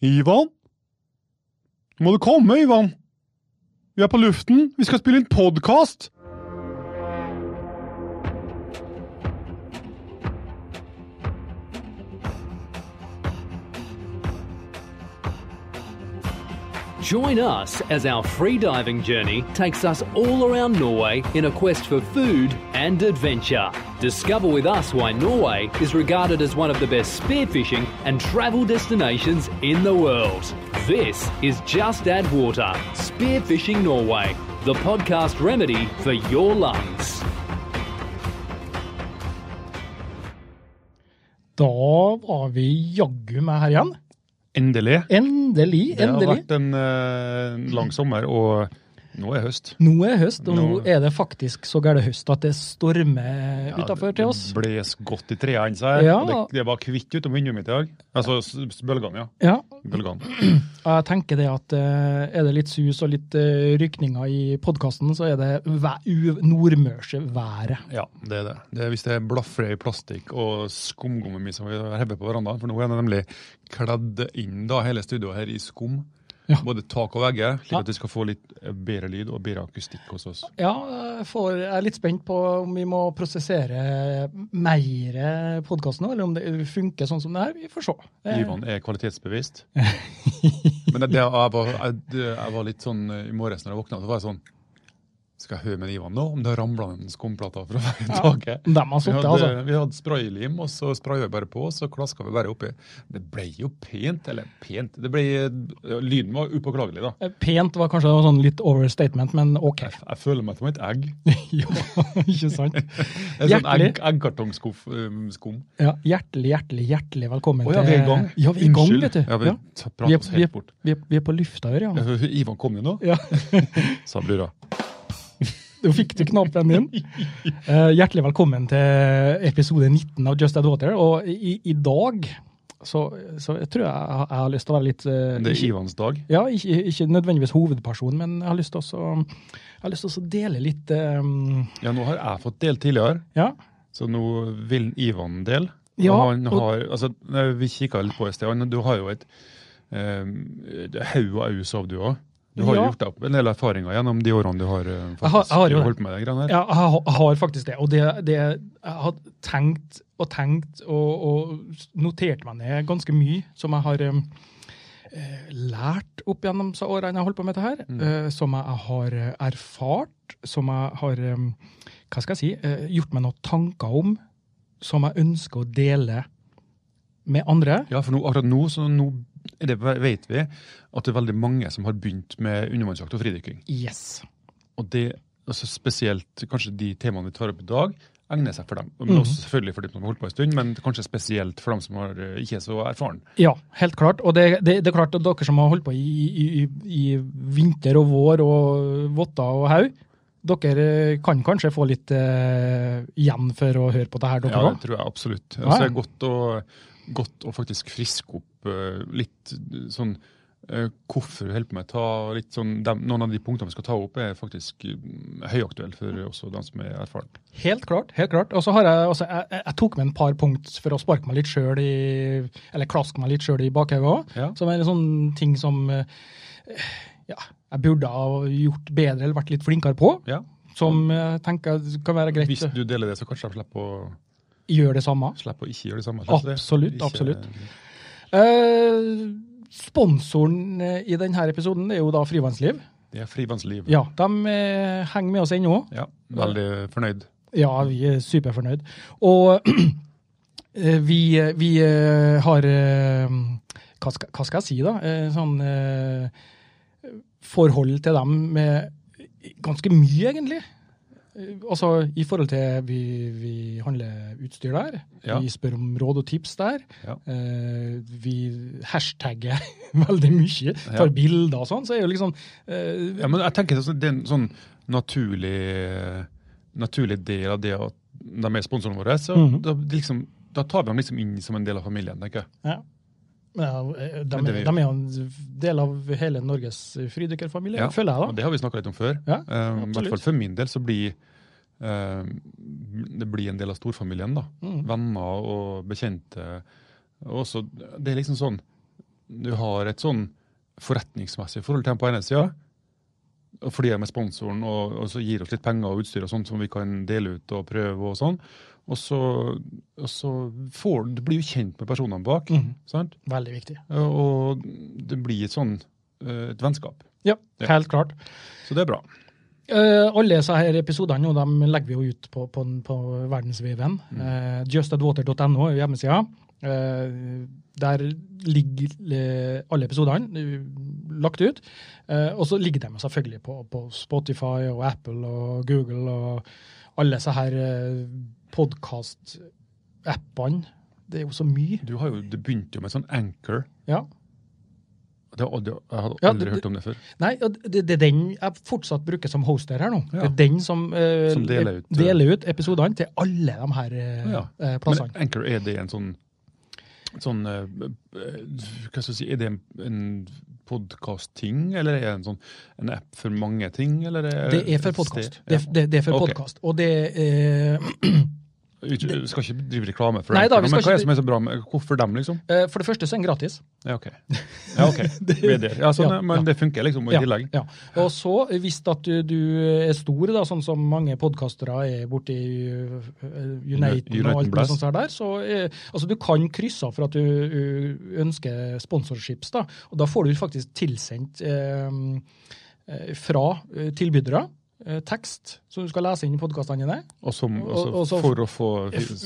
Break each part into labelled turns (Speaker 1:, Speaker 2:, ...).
Speaker 1: Ivan? Må du komme, Ivan? Vi er på luften. Vi skal spille inn podkast!
Speaker 2: Join us as our free diving journey takes us all around Norway in a quest for food and adventure. Discover with us why Norway is regarded as one of the best spearfishing and travel destinations in the world. This is Just Add Water Spearfishing Norway, the podcast remedy for your lungs.
Speaker 3: Da var vi jaggu meg her igjen.
Speaker 1: Endelig.
Speaker 3: Endelig,
Speaker 1: Det har
Speaker 3: endelig.
Speaker 1: vært en eh, lang sommer, og nå er høst.
Speaker 3: Nå er høst, og nå
Speaker 1: Nå-
Speaker 3: er det faktisk så gæren høst at det stormer utafor til oss.
Speaker 1: Det bles godt i trærne seg.
Speaker 3: Ja.
Speaker 1: og Det, det var kvitt utom vinduet mitt i dag. Altså s- bølgene, ja.
Speaker 3: Ja,
Speaker 1: Bølgene.
Speaker 3: og jeg tenker det at eh, er det litt sus og litt eh, rykninger i podkasten, så er det væ- u- nordmørsværet.
Speaker 1: Ja, det er det. det er hvis det blafrer i plastikk og skumgummi som vi har hevet på verandaen. For nå er det nemlig kledd inn da, hele studioet her i skum.
Speaker 3: Ja.
Speaker 1: Både tak og vegger, slik
Speaker 3: Ja.
Speaker 1: at vi skal få litt eh, bedre lyd og bedre akustikk hos oss.
Speaker 3: Ja, jeg får- jeg er litt spent på om vi må prosessere mer podkast nå, eller om det funker sånn som det her. Vi får se. Eh,
Speaker 1: Ivan er kvalitetsbevisst. Men det, det, jeg, var, jeg, det- jeg var litt sånn eh, i morges når jeg våkna, så var jeg sånn Skal jeg høre med Ivan nå om det har ramla en skumplate fra taket?
Speaker 3: De har
Speaker 1: Vi
Speaker 3: sittet,
Speaker 1: hadde,
Speaker 3: altså.
Speaker 1: vi hadde spraylim, og så spraya vi bare på, og så klaska vi bare oppi. Det ble jo pent. Eller pent det ble, ja, Lyden var upåklagelig, da.
Speaker 3: Eh, Pent var kanskje sånn litt overstatement, men OK.
Speaker 1: Jeg, jeg føler meg som et egg.
Speaker 3: Ja, ikke sant?
Speaker 1: En sånn
Speaker 3: Hjertelig.
Speaker 1: egg, eggkartongskuff um, skum.
Speaker 3: Ja, hjertelig, hjertelig, hjertelig velkommen
Speaker 1: Å ja, vi er i gang.
Speaker 3: Ja, vi er i gang,
Speaker 1: Unnskyld.
Speaker 3: vet du.
Speaker 1: Ja, vi
Speaker 3: Ja.
Speaker 1: t-
Speaker 3: Vi
Speaker 1: prater
Speaker 3: er-
Speaker 1: oss
Speaker 3: vi er-
Speaker 1: helt bort. Eh,
Speaker 3: Vi, er, vi er på lufta her, ja.
Speaker 1: Ivan kom jo nå,
Speaker 3: ja.
Speaker 1: sa brura.
Speaker 3: Du fikk du knappen din. Eh, hjertelig velkommen til episode 19 av Just Add Water. Og i, i dag så, så jeg tror jeg jeg har- jeg har lyst til å være litt eh,
Speaker 1: Det er
Speaker 3: ikke,
Speaker 1: Ivans dag.
Speaker 3: ja, ikke, ikke nødvendigvis hovedperson, men jeg har lyst til også å- jeg har lyst til også å dele litt eh,
Speaker 1: Ja, nå har jeg fått del tidligere.
Speaker 3: Ja.
Speaker 1: Så nå vil Ivan dele.
Speaker 3: Ja,
Speaker 1: og han
Speaker 3: og-
Speaker 1: har, altså, nei, vi kikka litt på i sted. og Du har jo et eh, det er haug og aus av du òg. Du har jo
Speaker 3: Ja.
Speaker 1: gjort deg opp en del erfaringer gjennom de årene du har, eh,
Speaker 3: har- jeg har jo det.
Speaker 1: holdt på med de greiene her.
Speaker 3: Ja, jeg har- jeg har faktisk det. Og det, det jeg har tenkt og tenkt og, og notert meg ned ganske mye som jeg har um, eh, lært opp gjennom så årene jeg har holdt på med dette her. eh, som jeg har eh, erfart, som jeg har um, hva skal jeg si, eh, gjort meg noen tanker om, som jeg ønsker å dele med andre.
Speaker 1: Ja, for nå, akkurat nå, så nå er det, vet vi at det er veldig mange som har begynt med undervannsjakt og fridykking.
Speaker 3: Yes.
Speaker 1: Og det, altså spesielt kanskje de temaene vi tar opp i dag, egner seg for dem.
Speaker 3: Mhm.
Speaker 1: Men også selvfølgelig for de som har holdt på en stund, men kanskje spesielt for dem som har, eh, ikke er så erfaren.
Speaker 3: Ja, helt klart. Og det, det, det er klart at dere som har holdt på i, i, i- i vinter og vår og votter og haug, dere eh, kan kanskje få litt eh, igjen for å høre på det her, dere
Speaker 1: Ja, det
Speaker 3: òg?
Speaker 1: tror jeg absolutt.
Speaker 3: Ja,
Speaker 1: Altså, det
Speaker 3: ja.
Speaker 1: er godt å, godt å faktisk friske opp eh, litt eh, sånn eh, Hvorfor du holder på med å ta litt sånn dem, Noen av de punktene vi skal ta opp, er faktisk eh, høyaktuelle for også dem som er erfaren.
Speaker 3: Helt klart. helt klart. Og så har jeg, altså, jeg, jeg- jeg tok med en par punkt for å sparke meg litt sjøl i Eller klaske meg litt sjøl i bakhodet òg.
Speaker 1: Ja.
Speaker 3: Som er en sånn ting som eh, ja, jeg burde ha gjort bedre eller vært litt flinkere på.
Speaker 1: Ja. eh,
Speaker 3: Som jeg tenker kan være greit.
Speaker 1: Hvis du deler det, så kanskje de slipper å,
Speaker 3: Gjør det samme.
Speaker 1: slipper å ikke gjøre det samme.
Speaker 3: Absolutt,
Speaker 1: Ikke-
Speaker 3: absolutt. Eh, sponsoren eh, i denne episoden er jo da Frivannsliv.
Speaker 1: Det er frivannsliv.
Speaker 3: Ja, De eh, henger med oss ennå.
Speaker 1: Ja, veldig fornøyd.
Speaker 3: Ja, vi er superfornøyd. Og eh, vi, vi eh, har eh, hva skal, hva skal jeg si, da? Eh, Sånn eh, forhold til dem med ganske mye, egentlig. Eh, Altså i forhold til vi, vi handler utstyr der.
Speaker 1: Ja.
Speaker 3: Vi spør om råd og tips der.
Speaker 1: Ja.
Speaker 3: Eh, vi hashtagger veldig mye. Tar
Speaker 1: Ja.
Speaker 3: bilder og sånn. Så er jo liksom eh,
Speaker 1: Ja, men jeg tenker det er sånn- det er en sånn naturlig, naturlig del av det at de er sponsorene våre. Så
Speaker 3: Mhm.
Speaker 1: da, liksom, da tar vi dem liksom inn som en del av familien, tenker jeg.
Speaker 3: Ja, eh, de,
Speaker 1: Men det
Speaker 3: de
Speaker 1: vil-
Speaker 3: er jo en del av hele Norges fridykkerfamilie,
Speaker 1: Ja,
Speaker 3: føler jeg
Speaker 1: Og
Speaker 3: da.
Speaker 1: det har vi snakka litt om før.
Speaker 3: Ja,
Speaker 1: Eh, I
Speaker 3: absolutt.
Speaker 1: hvert fall for min del så blir eh, det blir en del av storfamilien. da.
Speaker 3: Mm.
Speaker 1: Venner og bekjente. Og også, det er liksom sånn du har et sånn forretningsmessig forhold til dem på ene sida, og fordi de er sponsoren og, og så gir oss litt penger og utstyr og sånt som vi kan dele ut og prøve og sånn. Og så, og så får, du blir du kjent med personene bak.
Speaker 3: Mhm.
Speaker 1: sant?
Speaker 3: Veldig viktig.
Speaker 1: Og det blir et sånn eh, et vennskap.
Speaker 3: Ja,
Speaker 1: Ja.
Speaker 3: helt klart.
Speaker 1: Så det er bra.
Speaker 3: Eh, alle disse her episodene nå, de legger vi jo ut på, på, på verdensveven. Eh, justadwater.no er jo hjemmesida. Eh, der ligger eh, alle episodene eh, lagt ut. Eh, og så ligger de jo selvfølgelig på, på Spotify og Apple og Google og alle disse her eh, podkast-appene. Det er jo så mye.
Speaker 1: Du, har jo, du begynte jo med sånn anchor.
Speaker 3: Ja.
Speaker 1: Det har aldri, jeg hadde
Speaker 3: Ja,
Speaker 1: aldri
Speaker 3: det-
Speaker 1: hørt om det før.
Speaker 3: Nei, og det, det er den jeg fortsatt bruker som hoster her nå.
Speaker 1: Ja.
Speaker 3: Det er den som, eh,
Speaker 1: Som deler ut, eh,
Speaker 3: deler ut episodene til alle de her eh,
Speaker 1: Ja.
Speaker 3: eh,
Speaker 1: Men
Speaker 3: plassene.
Speaker 1: anchor, er det en sånn sånn eh, eh, Hva skal jeg si, er det en, en podkast-ting, eller er det en sånn en app for mange ting? Eller er
Speaker 3: det er for
Speaker 1: et
Speaker 3: podkast.
Speaker 1: sted?
Speaker 3: Det,
Speaker 1: Ja.
Speaker 3: det, det er for
Speaker 1: Ok.
Speaker 3: podcast. Og det eh,
Speaker 1: Ut- Vi skal ikke drive reklame for
Speaker 3: Nei da,
Speaker 1: Anchor,
Speaker 3: vi
Speaker 1: men
Speaker 3: skal
Speaker 1: hva
Speaker 3: ikke
Speaker 1: er det som er så bra med Hvorfor dem, liksom?
Speaker 3: eh, For det første så er den gratis.
Speaker 1: Ja, OK. Ja, ok. Vi er der. Ja, sånn,
Speaker 3: Ja,
Speaker 1: men det funker liksom i
Speaker 3: Ja,
Speaker 1: tillegg.
Speaker 3: ja. Og så, hvis at du, du er stor, da, sånn som mange podkastere er borti uh, Uniten og
Speaker 1: Uniten
Speaker 3: alt det
Speaker 1: Blast.
Speaker 3: sånt der, så eh, altså, du kan krysse av for at du uh, ønsker sponsorships, da. Og da får du faktisk tilsendt eh, eh, fra eh, tilbydere eh, tekst som du skal lese inn i podkastene dine.
Speaker 1: Og som,
Speaker 3: Og-
Speaker 1: også,
Speaker 3: og så-
Speaker 1: for å få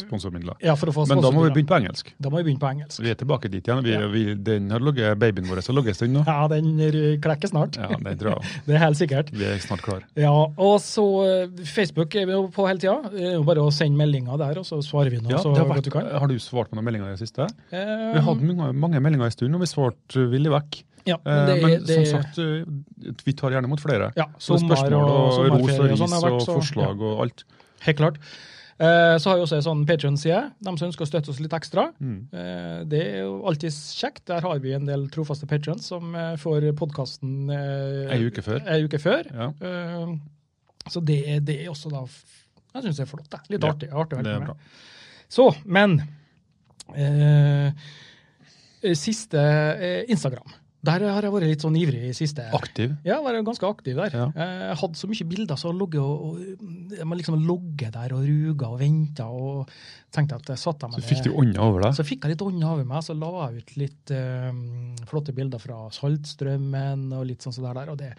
Speaker 1: sponsormidler.
Speaker 3: Ja, for å få
Speaker 1: Men da må vi
Speaker 3: sponsorbidrag.
Speaker 1: begynne på engelsk.
Speaker 3: Da må vi begynne på engelsk.
Speaker 1: Vi er tilbake dit igjen. Vi,
Speaker 3: Ja.
Speaker 1: vi, den har ligget, babyen vår har ligget en stund nå.
Speaker 3: Ja, den eh, klekker snart.
Speaker 1: Ja, det tror jeg.
Speaker 3: Det er helt sikkert.
Speaker 1: Vi er snart klar.
Speaker 3: Ja, og så eh, Facebook er vi jo på hele tida. Det er jo bare å sende meldinger der, og så svarer vi nå
Speaker 1: Ja,
Speaker 3: så
Speaker 1: det har,
Speaker 3: godt
Speaker 1: vært,
Speaker 3: du kan.
Speaker 1: har du svart på noen meldinger i det siste?
Speaker 3: Eh,
Speaker 1: Vi har hatt mange, mange meldinger en stund, og vi svarte uh, villig vekk.
Speaker 3: ja,
Speaker 1: Eh,
Speaker 3: men det,
Speaker 1: men
Speaker 3: er- det,
Speaker 1: som sagt, uh, vi tar gjerne imot flere.
Speaker 3: ja,
Speaker 1: Både
Speaker 3: sommer
Speaker 1: spørsmål og,
Speaker 3: og
Speaker 1: ros og
Speaker 3: sommerferie og
Speaker 1: ris
Speaker 3: sånn har vært,
Speaker 1: og
Speaker 3: så ja,
Speaker 1: forslag og alt.
Speaker 3: helt klart. Eh, så har vi også en sånn Patreon-side, de som ønsker å støtte oss litt ekstra.
Speaker 1: Mm.
Speaker 3: Eh, det er jo alltid kjekt. Der har vi en del trofaste patrons som eh, får podkasten eh,
Speaker 1: Ei uke før.
Speaker 3: ei uke før.
Speaker 1: Ja,
Speaker 3: Eh, så det, er- det er også da f- Jeg syns det er flott. Det. Litt
Speaker 1: Ja,
Speaker 3: artig. artig å holde
Speaker 1: det
Speaker 3: på
Speaker 1: er
Speaker 3: med.
Speaker 1: bra.
Speaker 3: Så, men eh, Siste eh, Instagram. Der har jeg vært litt sånn ivrig i siste.
Speaker 1: Aktiv.
Speaker 3: Ja, var jeg ganske aktiv der.
Speaker 1: Ja.
Speaker 3: Eh, Jeg hadde så mye bilder, så jeg logget og, og jeg må liksom logge der og ruga og venta og tenkte at jeg satte meg
Speaker 1: Så fikk du ånda over deg.
Speaker 3: Så fikk jeg litt ånda over meg, så la jeg ut litt eh, flotte bilder fra Saltstrømmen og litt sånn sånn der. Og det,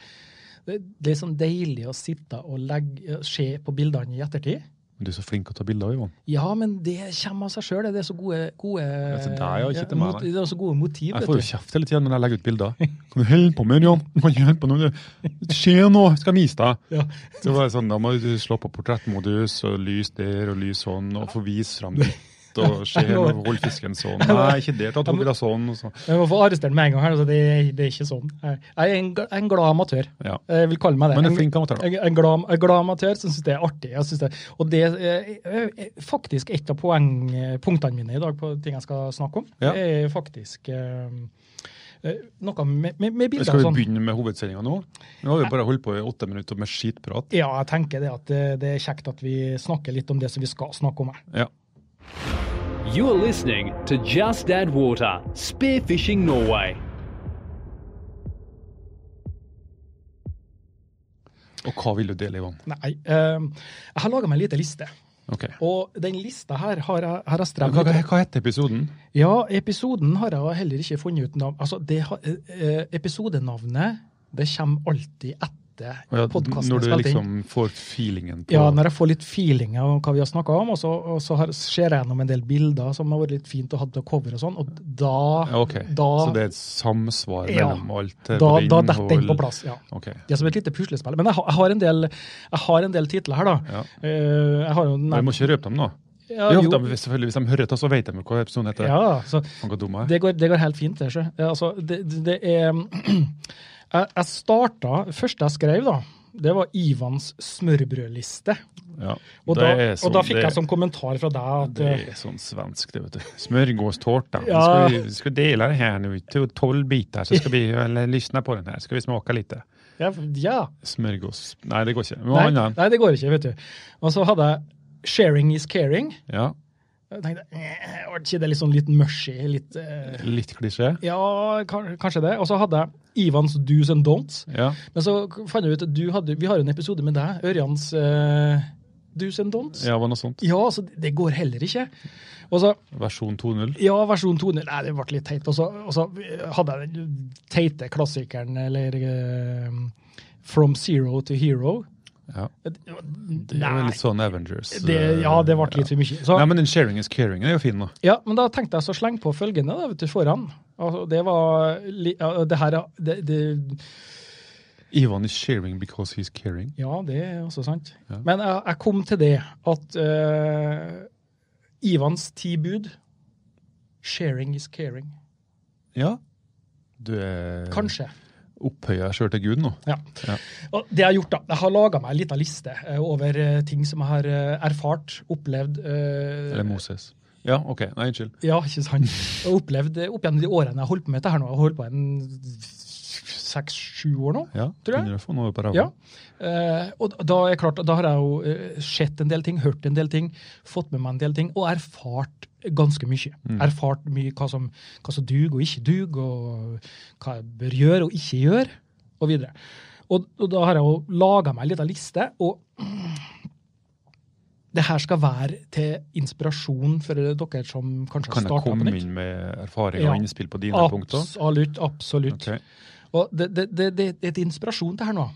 Speaker 3: det, det er sånn deilig å sitte og legge, eh, se på bildene i ettertid.
Speaker 1: Du er så flink til å ta bilder, Ivan.
Speaker 3: Ja, men det kommer av seg sjøl. Det er så gode, gode
Speaker 1: til deg, ja, ikke til meg,
Speaker 3: mot-
Speaker 1: nei.
Speaker 3: Det er så gode motiv.
Speaker 1: Jeg
Speaker 3: vet
Speaker 1: får jo
Speaker 3: du.
Speaker 1: kjeft hele tiden når jeg legger ut bilder. Kan du holde på med det, Jan? Du Kan ikke holde på med det. Se nå, skal jeg vise deg.
Speaker 3: Ja.
Speaker 1: Så var det sånn, Da må du slå på portrettmodus og lys der og lys sånn, og få vise fram ditt. Og se her, nå, hold fisken sånn. Nei, ikke der. Ta to bilder sånn. og så.
Speaker 3: Jeg må få arrestere meg med en gang. her, altså det, det er ikke sånn. Jeg jeg er en, gl- en glad amatør.
Speaker 1: Ja.
Speaker 3: Jeg vil kalle meg det.
Speaker 1: Men en
Speaker 3: En-
Speaker 1: flink amatør, da.
Speaker 3: En, en, glad, en glad amatør som syns det er artig. Jeg synes det, og det er er faktisk et av poeng, eh, punktene mine i dag på ting jeg skal snakke om.
Speaker 1: Ja.
Speaker 3: Det er faktisk eh, eh, noe med, med, med bilder
Speaker 1: Skal
Speaker 3: og
Speaker 1: vi
Speaker 3: sånn.
Speaker 1: begynne med hovedsendinga nå? Nå har vi bare holdt på i åtte minutter med skitprat.
Speaker 3: Ja, jeg tenker det at eh, det, det er kjekt at vi snakker litt om det som vi skal snakke om her.
Speaker 1: Ja.
Speaker 2: You're listening to Just Add Water, Spearfishing Norway.
Speaker 1: Og hva vil du dele, Ivan?
Speaker 3: Nei, eh, jeg har laga meg en liten liste.
Speaker 1: Ok.
Speaker 3: Og den lista her har jeg, har jeg
Speaker 1: Hva,
Speaker 3: strevd
Speaker 1: hva
Speaker 3: med.
Speaker 1: hva heter episoden?
Speaker 3: Ja, episoden har jeg heller ikke funnet ut navn. Altså, det har, eh, eh, episodenavnet det kommer alltid etter
Speaker 1: Og ja,
Speaker 3: podkasten
Speaker 1: når
Speaker 3: er
Speaker 1: du
Speaker 3: spilt inn.
Speaker 1: liksom får feelingen på
Speaker 3: Ja, når jeg får litt feeling av hva vi har snakka om, og så, og så har, ser jeg gjennom en del bilder som har vært litt fint å ha på cover og sånn, og
Speaker 1: Ja,
Speaker 3: da
Speaker 1: Ok,
Speaker 3: da,
Speaker 1: Så det er et samsvar
Speaker 3: Ja.
Speaker 1: mellom alt?
Speaker 3: da,
Speaker 1: eh,
Speaker 3: da
Speaker 1: både
Speaker 3: detter den på
Speaker 1: innhold-
Speaker 3: plass. ja.
Speaker 1: Ok.
Speaker 3: Det er som et lite puslespill. Men jeg har, jeg har, en, del, jeg har en del titler her, da.
Speaker 1: Ja.
Speaker 3: Eh, jeg har
Speaker 1: Vi
Speaker 3: jo
Speaker 1: må
Speaker 3: nevnt
Speaker 1: ikke røpe dem nå.
Speaker 3: Ja,
Speaker 1: jo,
Speaker 3: jo.
Speaker 1: de, selvfølgelig, Hvis de hører etter, så vet de jo hva episoden heter.
Speaker 3: ja, så,
Speaker 1: Faen, hva dumme jeg er.
Speaker 3: Det går, det går helt fint. Det, sjø. Ja, altså, det, det- det er um, Jeg, jeg starta Første jeg skrev, da, det var Ivans smørbrødliste.
Speaker 1: Ja.
Speaker 3: Og,
Speaker 1: det
Speaker 3: da,
Speaker 1: er sånn,
Speaker 3: og da fikk
Speaker 1: det,
Speaker 3: jeg som kommentar fra deg at
Speaker 1: Det
Speaker 3: eh,
Speaker 1: er sånn svensk, det, vet du. Smörgåstårta. Vi
Speaker 3: Ja.
Speaker 1: Skal, vi skal dela det her nu i to- tolv bitar, så skal vi eller, lyssna på den här. Ska vi smaka lite?
Speaker 3: Ja. ja.
Speaker 1: Smörgås... Nei, det går ikke. Vi må ha
Speaker 3: Nei,
Speaker 1: en annen.
Speaker 3: nei, det går ikke, vet du. Og så hadde jeg Sharing is caring.
Speaker 1: Ja.
Speaker 3: Jeg tenkte eh, var ikke det litt sånn litt mushy? Litt, eh,
Speaker 1: Litt klisjé.
Speaker 3: ja, kan- kanskje det. Og så hadde jeg Ivans do's and don'ts.
Speaker 1: Ja.
Speaker 3: Men så fant jeg ut at du hadde, vi har jo en episode med deg, Ørjans eh, do's and don'ts.
Speaker 1: ja, var noe sånt.
Speaker 3: Ja, så det går heller ikke. Og så,
Speaker 1: Versjon 2.0.
Speaker 3: ja, versjon 200 Nei, det ble litt teit. Og så, og så hadde jeg den teite klassikeren, eller eh, From Zero to Hero.
Speaker 1: Ja. Det er jo
Speaker 3: Nei,
Speaker 1: litt sånn Avengers.
Speaker 3: det, ja, det ble litt for mye. Så,
Speaker 1: Nei, men den sharing is caring er jo fin, da.
Speaker 3: ja, men da tenkte jeg så sleng på følgende da, vet du, foran. Altså, det var li- ja, Det her er- det, det,
Speaker 1: Ivan is sharing because he's caring.
Speaker 3: Ja, det er også sant.
Speaker 1: Ja.
Speaker 3: Men jeg, jeg kom til det at eh, Ivans ti bud Sharing is caring.
Speaker 1: Ja. Du er
Speaker 3: Kanskje.
Speaker 1: opphøyer deg sjøl til Gud nå.
Speaker 3: Ja.
Speaker 1: Ja.
Speaker 3: Og det jeg har gjort da, jeg har laga meg en liten liste eh, over eh, ting som jeg har eh, erfart, opplevd eh,
Speaker 1: Eller Moses. Ja, OK. Nei, unnskyld.
Speaker 3: Ja, ikke sant? Og opplevd eh, opp gjennom de årene jeg har holdt på med dette her nå. Jeg har holdt på en seks-sju år nå.
Speaker 1: Ja,
Speaker 3: Tror jeg.
Speaker 1: begynner å få noe på
Speaker 3: Ja.
Speaker 1: ræva.
Speaker 3: Eh, og da, er det klart, da har jeg jo eh, sett en del ting, hørt en del ting, fått med meg en del ting, og erfart ganske mye.
Speaker 1: Mm.
Speaker 3: Erfart mye hva som, hva som duger og ikke duger, og hva jeg bør gjøre og ikke gjøre, og videre. Og, og da har jeg jo laga meg en liten liste, og det her skal være til inspirasjon for dere som kanskje
Speaker 1: Kan
Speaker 3: har
Speaker 1: jeg
Speaker 3: starta på
Speaker 1: komme
Speaker 3: nytt.
Speaker 1: inn med erfaring
Speaker 3: Ja.
Speaker 1: og innspill på dine punkter?
Speaker 3: Absolutt. absolutt.
Speaker 1: Ok.
Speaker 3: Og det, det, det, det, det er til inspirasjon, det her nå.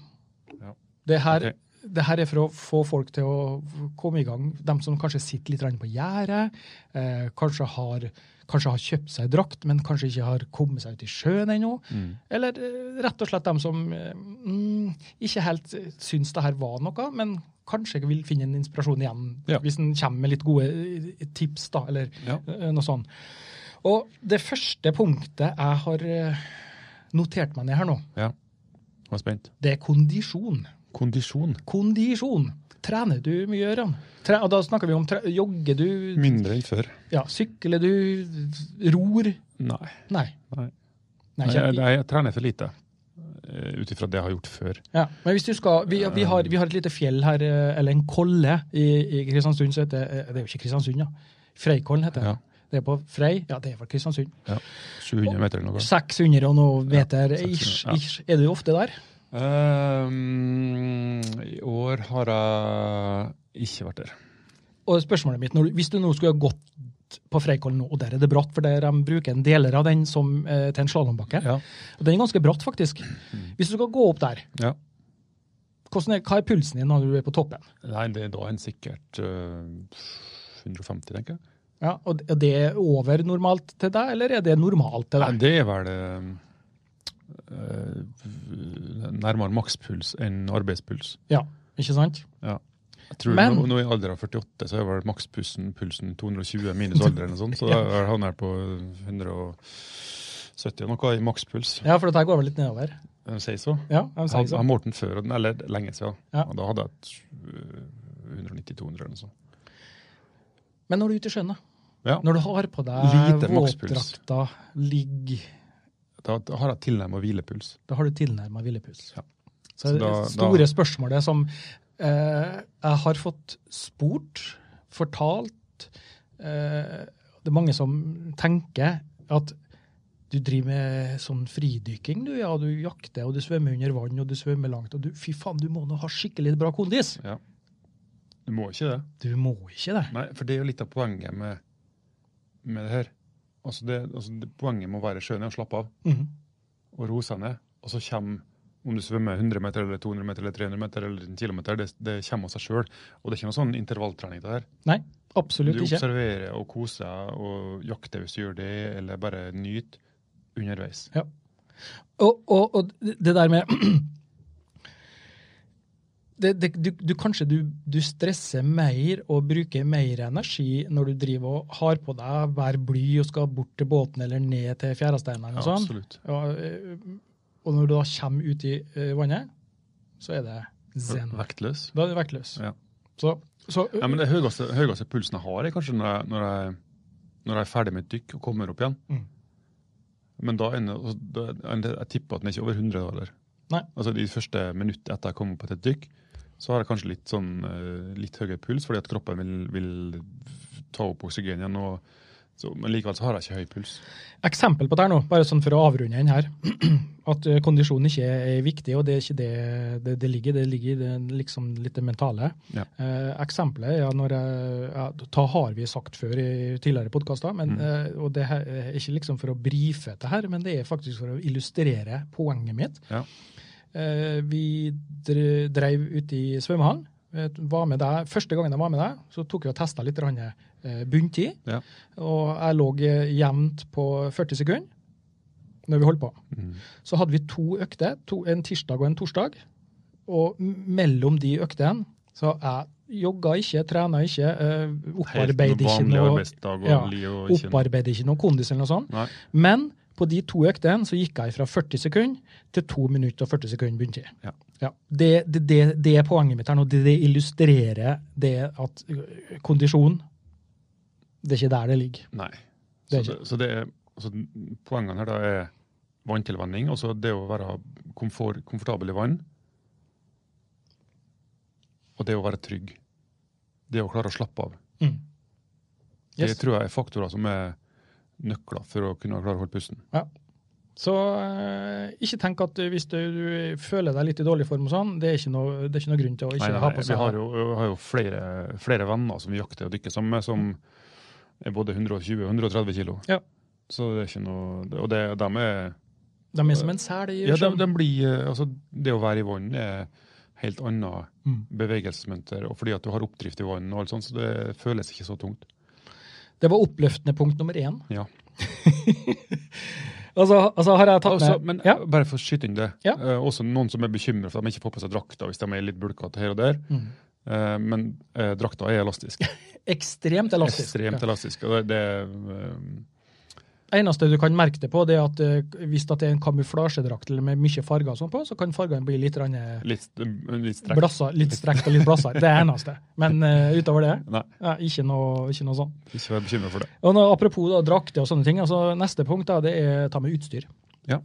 Speaker 1: Ja.
Speaker 3: Det, her,
Speaker 1: Ok.
Speaker 3: det her er for å få folk til å komme i gang. De som kanskje sitter litt grann på gjerdet, eh, kanskje, har, kanskje har kjøpt seg drakt, men kanskje ikke har kommet seg ut i sjøen ennå.
Speaker 1: Mm.
Speaker 3: Eller eh, rett og slett dem som eh, mm, ikke helt eh, syns det her var noe, men kanskje vil finne en inspirasjon igjen
Speaker 1: Ja.
Speaker 3: hvis en kommer med litt gode eh, tips, da, eller
Speaker 1: Ja.
Speaker 3: eh, noe sånt. Og det første punktet jeg har eh, notert meg ned her nå,
Speaker 1: ja. Jeg er spent.
Speaker 3: det er kondisjon.
Speaker 1: Kondisjon.
Speaker 3: Kondisjon! Trener du mye, Ørjan? Tre- og Da snakker vi om tre jogger du,
Speaker 1: Mindre enn før.
Speaker 3: ja, sykler du, ror
Speaker 1: Nei.
Speaker 3: Nei.
Speaker 1: Nei.
Speaker 3: Nei,
Speaker 1: Nei, jeg,
Speaker 3: ikke.
Speaker 1: jeg trener for lite. eh, Ut ifra det jeg har gjort før.
Speaker 3: Ja, men hvis du skal, vi, vi, har, vi har et lite fjell her, eh, eller en kolle i, i Kristiansund. Så heter, eh, det er jo ikke Kristiansund, ja. Freikollen heter det.
Speaker 1: Ja.
Speaker 3: Det er på Frei. Ja, det er vel Kristiansund.
Speaker 1: Ja. 700 meter eller noe.
Speaker 3: 600 og noe meter.
Speaker 1: 600,
Speaker 3: ish,
Speaker 1: ja.
Speaker 3: ish. Er du ofte der?
Speaker 1: Ehm, I år har jeg ikke vært der.
Speaker 3: Og spørsmålet mitt, når, du- hvis du nå skulle ha gått på Freikollen nå, og der er det bratt, for der de bruker en deler av den som, eh, til en slalåmbakke.
Speaker 1: Ja.
Speaker 3: Og Den er ganske bratt, faktisk. Hvis du skal gå opp der,
Speaker 1: ja.
Speaker 3: hvordan er, hva er pulsen din når du er på toppen?
Speaker 1: Nei, det, da er en sikkert eh, 150, tenker jeg.
Speaker 3: Ja, og det- og det er over normalt til deg, eller er det normalt til
Speaker 1: Nei,
Speaker 3: deg?
Speaker 1: det er vel eh, eh, nærmere makspuls enn arbeidspuls.
Speaker 3: Ja, ikke sant?
Speaker 1: Ja. Jeg tror
Speaker 3: Men-
Speaker 1: nå, nå i alder av 48 så er vel makspulsen pulsen 220 minus alder eller noe sånt, så da er- havner jeg på 170 og noe i makspuls.
Speaker 3: Ja, for dette går vel litt nedover.
Speaker 1: De sier så.
Speaker 3: Ja, de sier sånn.
Speaker 1: Jeg
Speaker 3: så.
Speaker 1: har målt den før, og den- eller lenge siden.
Speaker 3: Ja.
Speaker 1: Og da hadde jeg øh, et 190-200 eller noe sånt.
Speaker 3: Men når du er ute i sjøen, da?
Speaker 1: Ja,
Speaker 3: Når du har på deg
Speaker 1: Lite makspuls.
Speaker 3: våtdrakta, ligg,
Speaker 1: da, da har jeg tilnærmet hvilepuls.
Speaker 3: da har du tilnærma hvilepuls.
Speaker 1: Ja.
Speaker 3: Så,
Speaker 1: Så
Speaker 3: det
Speaker 1: da-
Speaker 3: store
Speaker 1: da-
Speaker 3: spørsmålet som eh, jeg har fått spurt, fortalt eh, Det er mange som tenker at du driver med sånn fridykking, du. Ja, du jakter, og du svømmer under vann, og du svømmer langt. Og du, fy faen, du må nå ha skikkelig bra kondis!
Speaker 1: Ja. Du må ikke det.
Speaker 3: Du må ikke det.
Speaker 1: Nei, for det er jo litt av poenget med, med det her. Altså det, altså det, poenget med å være i sjøen er å slappe av
Speaker 3: Mhm.
Speaker 1: og roe seg ned. Og så kommer, om du svømmer 100 meter eller 200 meter eller 300 meter eller en kilometer, det, det kommer av seg sjøl. Og det er ikke noe sånn intervalltrening det her.
Speaker 3: Nei,
Speaker 1: Du
Speaker 3: absolutt ikke.
Speaker 1: observerer og koser deg og jakter hvis du gjør det, eller bare nyter underveis.
Speaker 3: Og, og, og det der med det, det, du, du, Kanskje du, du stresser mer og bruker mer energi når du driver og har på deg hver bly og skal bort til båten eller ned til fjæresteinene. og sånn.
Speaker 1: absolutt.
Speaker 3: Og, eh, og når du da kommer ut i eh, vannet, så er det zen.
Speaker 1: Vektløs.
Speaker 3: Da er du vektløs.
Speaker 1: Ja.
Speaker 3: Så, så
Speaker 1: Ja, men det høyeste, høyeste pulsen jeg har, er kanskje når jeg, når, jeg, når jeg er ferdig med et dykk og kommer opp igjen.
Speaker 3: Mm.
Speaker 1: Men da ender og da, Jeg tipper at den er ikke over 100 dollar.
Speaker 3: Nei.
Speaker 1: Altså De første minuttene etter jeg kom opp etter et dykk, så har jeg kanskje litt sånn eh, litt høyere puls, fordi at kroppen vil, vil ta opp oksygen igjen. Og, så, men likevel så har jeg ikke høy puls.
Speaker 3: Eksempel på det her nå, bare sånn for å avrunde den her, at eh, kondisjon ikke er viktig, og det er ikke det det, det ligger det ligger i det, liksom litt det mentale.
Speaker 1: Ja.
Speaker 3: Eh, eksempelet er ja, når jeg, ja, ta har vi sagt før i tidligere podkaster, men,
Speaker 1: Mm.
Speaker 3: eh, og det her er ikke liksom for å brife det her, men det er faktisk for å illustrere poenget mitt.
Speaker 1: Ja.
Speaker 3: Eh, vi dre- dreiv ute i svømmehallen. eh, Var med deg. Første gangen jeg var med deg, så tok vi og testa litt grann, eh, bunntid.
Speaker 1: Ja.
Speaker 3: Og jeg lå eh, jevnt på 40 sekunder når vi holdt på.
Speaker 1: Mm.
Speaker 3: Så hadde vi to økter, to, en tirsdag og en torsdag. Og m- mellom de øktene så jeg jogga ikke, trena ikke, eh,
Speaker 1: Helt
Speaker 3: opparbeidet ikke
Speaker 1: vanlig
Speaker 3: noe
Speaker 1: arbeidsdag og
Speaker 3: ja,
Speaker 1: li og ikke noe-
Speaker 3: opparbeider ikke noe kondis eller noe sånt.
Speaker 1: Nei.
Speaker 3: Men på de to øktene så gikk jeg fra 40 sekunder til 2 minutter og 40 sekunder bunntid.
Speaker 1: Ja.
Speaker 3: Det, det, det, det er poenget mitt her nå. Det, det illustrerer det at øh, kondisjon Det er ikke der det ligger.
Speaker 1: Nei.
Speaker 3: Det er
Speaker 1: så, det, så det er, altså, poengene her da er vanntilvenning, og så det å være komfort, komfortabel i vann, og det å være trygg. Det å klare å slappe av.
Speaker 3: Mm.
Speaker 1: Det
Speaker 3: Yes.
Speaker 1: tror jeg er faktorer som er nøkler for å kunne klare å holde pusten.
Speaker 3: Så øh, ikke tenk at øh, hvis du, du føler deg litt i dårlig form og sånn, det er ikke noe, det er ikke noe grunn til å ikke
Speaker 1: Nei, nei,
Speaker 3: ha
Speaker 1: nei,
Speaker 3: på
Speaker 1: vi
Speaker 3: seg
Speaker 1: har jo, vi har jo flere, flere venner som vi jakter og dykker sammen med, som er både 120 og 130 kilo.
Speaker 3: Mm. Ja.
Speaker 1: Så det er ikke noe det- Og det, dem er
Speaker 3: De er som en sel i
Speaker 1: Ja,
Speaker 3: sjøen.
Speaker 1: dem, dem blir eh, Altså, det å være i vann er helt annet
Speaker 3: Mm.
Speaker 1: bevegelsesmønster, og fordi at du har oppdrift i vann og alt sånt, så det føles ikke så tungt.
Speaker 3: Det var oppløftende punkt nummer én.
Speaker 1: Ja.
Speaker 3: altså, altså har jeg tatt
Speaker 1: Altså,
Speaker 3: med
Speaker 1: men
Speaker 3: ja.
Speaker 1: bare for å skyte inn det,
Speaker 3: Ja.
Speaker 1: eh, også noen som er bekymret for at de ikke får på seg drakta hvis de er litt bulkete her og der,
Speaker 3: Mm.
Speaker 1: eh, men eh, drakta er elastisk.
Speaker 3: Ekstremt elastisk. Ja.
Speaker 1: Ekstremt elastisk. og det, det er, eh,
Speaker 3: eneste du kan merke det på, det er at eh, hvis at det er en kamuflasjedrakt eller med mye farger og sånn på, så kan fargene bli litt, rann, eh,
Speaker 1: Litt, litt strekk.
Speaker 3: blassa, litt strekt og litt blassa. Det er det eneste. Men eh, utover det,
Speaker 1: Nei,
Speaker 3: ja, ikke, noe, ikke noe sånn.
Speaker 1: ikke vær bekymra for det.
Speaker 3: Og nå, apropos da, drakter og sånne ting, altså neste punkt da, det er ta med utstyr.
Speaker 1: Ja.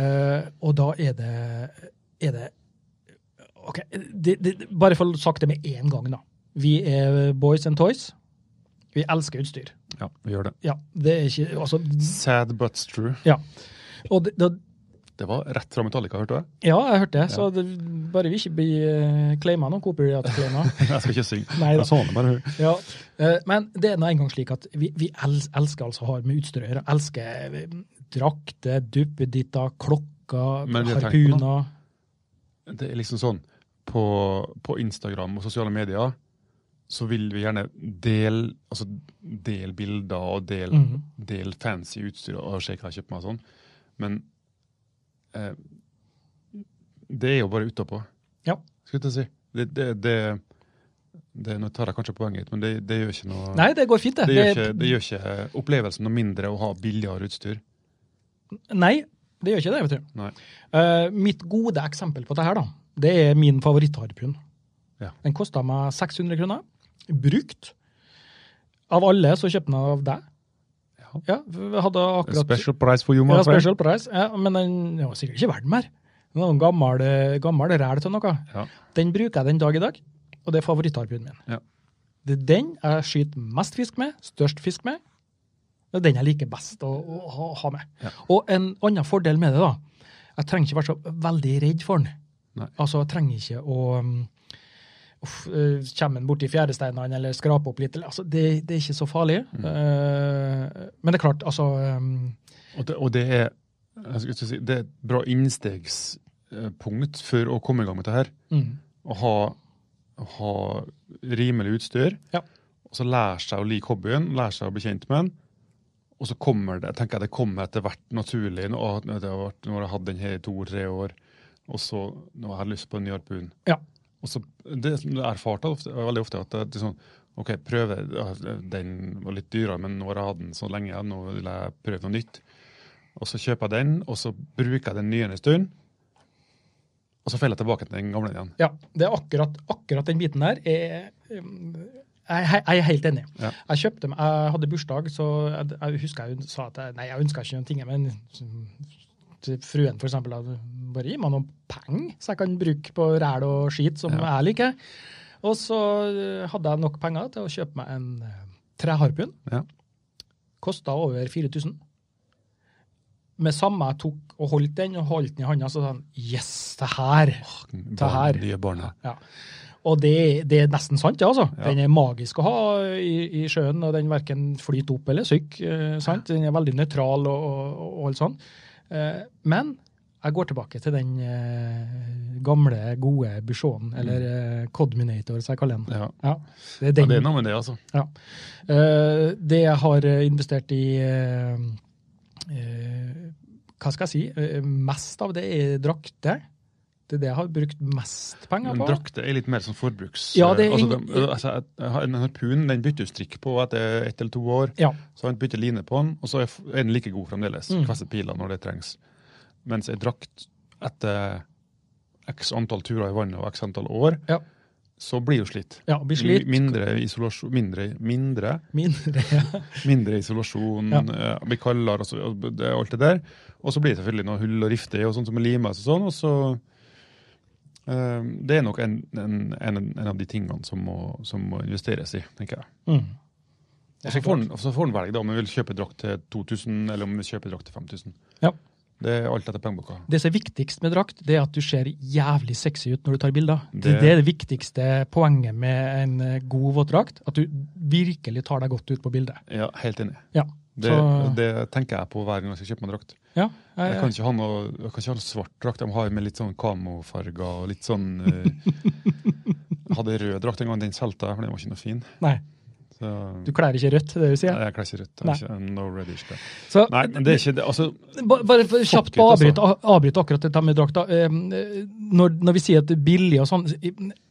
Speaker 3: Eh, og da er det, er det Ok, det, det, bare for å ha sagt det med én gang, da. Vi er boys and toys. Vi elsker utstyr.
Speaker 1: Ja, vi gjør det.
Speaker 3: Ja, det er ikke Altså,
Speaker 1: Sad but true.
Speaker 3: ja. Og det, det,
Speaker 1: Det var rett fra Metallica, hørte du?
Speaker 3: Ja, jeg hørte det. Så det, bare vi ikke blir uh, claima noen copyright-claima.
Speaker 1: Jeg skal ikke synge.
Speaker 3: Nei da.
Speaker 1: Jeg så det bare.
Speaker 3: ja. Eh, men det er nå engang slik at vi, vi els, elsker altså å ha med utstyr å gjøre. Elsker eh, drakter, duppeditter, klokker,
Speaker 1: Men vi har tenkt på noe.
Speaker 3: harpuner.
Speaker 1: Det er liksom sånn på, på Instagram og sosiale medier så vil vi gjerne dele altså, del bilder og del,
Speaker 3: Mhm.
Speaker 1: del fancy utstyr og se hva jeg kjøper meg og sånn. Men eh, det er jo bare utapå,
Speaker 3: Ja.
Speaker 1: skulle jeg til å si. Det, det, det, det, nå tar jeg kanskje poenget, men det, det gjør ikke noe
Speaker 3: Nei, det går fint, det.
Speaker 1: Det gjør, ikke, det gjør ikke opplevelsen noe mindre å ha billigere utstyr.
Speaker 3: Nei, det gjør ikke det, vet du.
Speaker 1: Nei.
Speaker 3: Eh, mitt gode eksempel på det her, da, det er min favorittharpun.
Speaker 1: Ja.
Speaker 3: Den kosta meg 600 kroner. Brukt. Av alle så kjøpte den av deg.
Speaker 1: Ja.
Speaker 3: Ja, vi hadde akkurat
Speaker 1: Special price for you, my
Speaker 3: Ja,
Speaker 1: friend.
Speaker 3: special price. Ja, men den den var sikkert ikke verdt mer. Den var en gammel, eh, gammel ræl til noe.
Speaker 1: Ja.
Speaker 3: Den bruker jeg den dag i dag, og det er favorittharpuen min.
Speaker 1: Ja.
Speaker 3: Det er den jeg skyter mest fisk med, størst fisk med. Det er den jeg liker best å, å ha- ha med.
Speaker 1: Ja.
Speaker 3: Og en annen fordel med det, da. Jeg trenger ikke være så veldig redd for den.
Speaker 1: Nei.
Speaker 3: Altså, jeg trenger ikke å um, uff, eh, Kommer den borti fjæresteinene eller skraper opp litt? eller- Altså, det, det er ikke så farlig.
Speaker 1: Mm.
Speaker 3: Eh, men det er klart, altså um,
Speaker 1: Og det, og det er jeg skulle til å si, det er et bra innstegspunkt for å komme i gang med det her.
Speaker 3: mm.
Speaker 1: Å ha, å ha rimelig utstyr,
Speaker 3: Ja.
Speaker 1: og så lære seg å like hobbyen, lære seg å bli kjent med den. Og så kommer det tenker jeg det kommer etter hvert naturlig. Nå, å, det har vært, nå har jeg hatt den her i to-tre år, og så nå har jeg lyst på en ny harpun.
Speaker 3: Ja.
Speaker 1: Og så, det som jeg erfarte ofte, veldig ofte, at det, det er sånn OK, prøve ja, Den var litt dyrere, men nå har jeg hatt den så lenge, nå vil jeg prøve noe nytt. Og så kjøper jeg den, og så bruker jeg den nye en stund. Og så faller jeg tilbake til den gamle igjen.
Speaker 3: Ja, det er akkurat, akkurat den biten der. Jeg, jeg, jeg er helt enig.
Speaker 1: Ja.
Speaker 3: Jeg kjøpte, meg- jeg hadde bursdag, så jeg, jeg husker jeg sa at jeg, nei, jeg ønska ikke noen ting, men til fruen for eksempel, at bare gi meg noen penger så jeg kan bruke på ræl og skit som jeg liker. Og så eh, hadde jeg nok penger til å kjøpe meg en eh, Treharpun
Speaker 1: Ja.
Speaker 3: kosta over 4000. Med samme jeg tok og holdt den, og holdt den i handa, så sa han Yes, det her! Ta her.
Speaker 1: Barn, de barna.
Speaker 3: Ja. Og det, det er nesten sant, det, altså.
Speaker 1: Ja.
Speaker 3: Den er magisk å ha i, i sjøen, og den verken flyter opp eller synker. eh, sant? Den er veldig nøytral og, og, og alt sånn. Eh, men jeg går tilbake til den eh, gamle, gode Bushonen, eller eh, Codminator, som jeg kaller den.
Speaker 1: Mm. Ja.
Speaker 3: Ja, det er
Speaker 1: ja,
Speaker 3: den.
Speaker 1: det er noe med det, altså.
Speaker 3: Ja. Eh, det jeg har eh, investert i eh, eh, Hva skal jeg si? eh, mest av det er drakter. Det er det jeg har brukt mest penger
Speaker 1: Men
Speaker 3: på.
Speaker 1: drakter er litt mer sånn forbruks...
Speaker 3: Ja, det er
Speaker 1: altså,
Speaker 3: ingen-
Speaker 1: de- altså, jeg- jeg har en harpun den bytter du strikk på etter ett eller to år.
Speaker 3: Ja.
Speaker 1: Så han bytter line på den, og så er f- er den like god fremdeles.
Speaker 3: Mm.
Speaker 1: Kvesser piler når det trengs. Mens ei drakt etter x antall turer i vannet og x antall år,
Speaker 3: Ja.
Speaker 1: så blir jo slitt.
Speaker 3: Ja, blir slitt.
Speaker 1: Mi- Mindre isolasjon, mindre, mindre,
Speaker 3: Mindre. ja.
Speaker 1: mindre isolasjon,
Speaker 3: Ja.
Speaker 1: eh, blir kaldere og så, og det, alt det der. Og så blir det selvfølgelig noe hull og rifter i, og sånt som er limet og sånn. og så... eh, Det er nok en, en, en, en av de tingene som må, som må investeres i, tenker jeg.
Speaker 3: Mm.
Speaker 1: Og så får han- og så får han velge da, om han vil kjøpe drakt til 2000 eller om han vil kjøpe drakt til 5000.
Speaker 3: Ja.
Speaker 1: Det er alt etter pengeboka.
Speaker 3: Det som er viktigst med drakt, det er at du ser jævlig sexy ut når du tar bilder. Det,
Speaker 1: Det-
Speaker 3: det er det viktigste poenget med en eh, god våtdrakt. At du virkelig tar deg godt ut på bildet.
Speaker 1: Ja, Helt enig.
Speaker 3: Ja.
Speaker 1: Det,
Speaker 3: Så-
Speaker 1: det tenker jeg på hver gang jeg skal kjøpe meg drakt.
Speaker 3: Ja, jeg,
Speaker 1: Jeg kan ikke ha noe, jeg kan ikke ha noe svart drakt. Jeg må ha med litt sånn kamofarger og litt sånn eh, Hadde en rød drakt en gang, den solgte jeg, for den var ikke noe fin.
Speaker 3: Nei,
Speaker 1: Så,
Speaker 3: du kler ikke rødt, det er det du sier.
Speaker 1: Nei, jeg kler ikke rødt. Jeg
Speaker 3: Nei.
Speaker 1: er ikke, I'm no reddish guy.
Speaker 3: Så,
Speaker 1: Nei, men det er ikke det. Altså,
Speaker 3: Ba- Bare for kjapt
Speaker 1: Fuck it,
Speaker 3: på
Speaker 1: altså.
Speaker 3: avbryte, avbryte akkurat dette med drakta. Eh, Når, når vi sier at det er billig og sånn,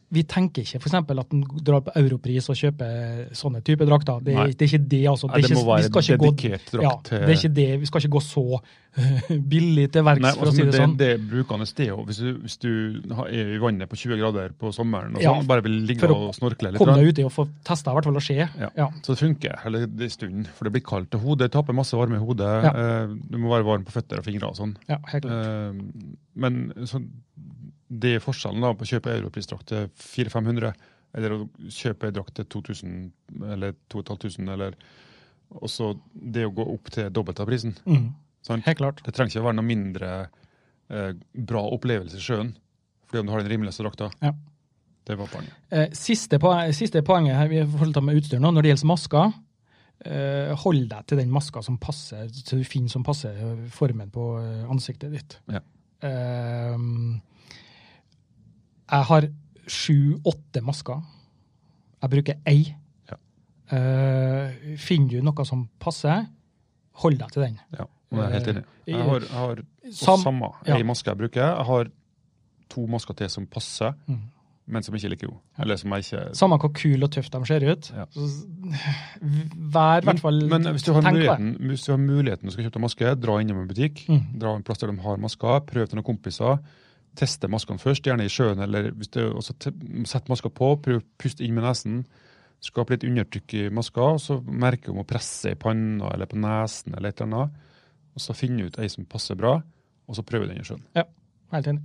Speaker 3: vi tenker ikke f.eks. at en drar på Europris og kjøper sånne typer drakter. Det,
Speaker 1: Nei.
Speaker 3: er- det er ikke det, altså.
Speaker 1: Nei, det
Speaker 3: er
Speaker 1: må
Speaker 3: ikke,
Speaker 1: være
Speaker 3: vi skal ikke gå-
Speaker 1: dedikert drakt
Speaker 3: Ja,
Speaker 1: til-
Speaker 3: det er ikke det. Vi skal ikke gå så billig til verks,
Speaker 1: nei,
Speaker 3: for å
Speaker 1: altså,
Speaker 3: si det,
Speaker 1: det,
Speaker 3: sånn.
Speaker 1: det er brukende sted. og Hvis du, hvis du har- er i vannet på 20 grader på sommeren og
Speaker 3: Ja,
Speaker 1: sånn, bare vil ligge
Speaker 3: for å
Speaker 1: og snorkle litt.
Speaker 3: Kom
Speaker 1: grann.
Speaker 3: deg uti og få testa, i hvert fall, og se.
Speaker 1: Ja.
Speaker 3: Ja.
Speaker 1: Så det funker eller det er stunden, for det blir kaldt. og Hodet taper masse varme i hodet.
Speaker 3: Ja.
Speaker 1: eh, Du må være varm på føtter og fingre og sånn.
Speaker 3: Ja, helt klart.
Speaker 1: Eh, Men så, det er forskjellen da på å kjøpe europrisdrakt til 400-500, eller å kjøpe en drakt til 2000 eller 2500, eller og så det å gå opp til dobbelt av prisen.
Speaker 3: Mm,
Speaker 1: Sant?
Speaker 3: helt klart.
Speaker 1: Det trenger ikke å være noe mindre eh, bra opplevelse i sjøen, fordi om du har den rimeligste drakta.
Speaker 3: Ja.
Speaker 1: Det var poenget.
Speaker 3: Eh, Siste, poe- siste poenget her, vi forholder med utstyr nå, når det gjelder masker, eh, hold deg til den maska som passer, så du finner som passer eh, formen på eh, ansiktet ditt.
Speaker 1: Ja.
Speaker 3: Eh, jeg har sju-åtte masker. Jeg bruker ei.
Speaker 1: Ja.
Speaker 3: Eh, finner du noe som passer, hold deg til den.
Speaker 1: Ja, og jeg er helt enig.
Speaker 3: Eh,
Speaker 1: Jeg har, jeg har
Speaker 3: Sam-
Speaker 1: samme
Speaker 3: ja.
Speaker 1: ei maske jeg bruker. Jeg har to masker til som passer,
Speaker 3: Mm.
Speaker 1: men som ikke er like gode. Eller som jeg ikke
Speaker 3: Samme hvor kul og tøff de ser ut.
Speaker 1: Ja.
Speaker 3: så- Vær i hvert fall
Speaker 1: men, men hvis du har
Speaker 3: tenk på det.
Speaker 1: muligheten hvis du har muligheten og skal kjøpe deg maske, dra innom en butikk,
Speaker 3: Mm.
Speaker 1: dra en plass der de har masker, prøv til noen kompiser. Teste maskene først, gjerne i sjøen. eller hvis det, også te- Sett maska på, prøv å puste inn med nesen. Skap litt undertrykk i maska, og så merke om å presse i panna eller på nesen. eller et eller annet, og Så finne ut ei som passer bra, og så prøve den i sjøen.
Speaker 3: Ja, helt enig.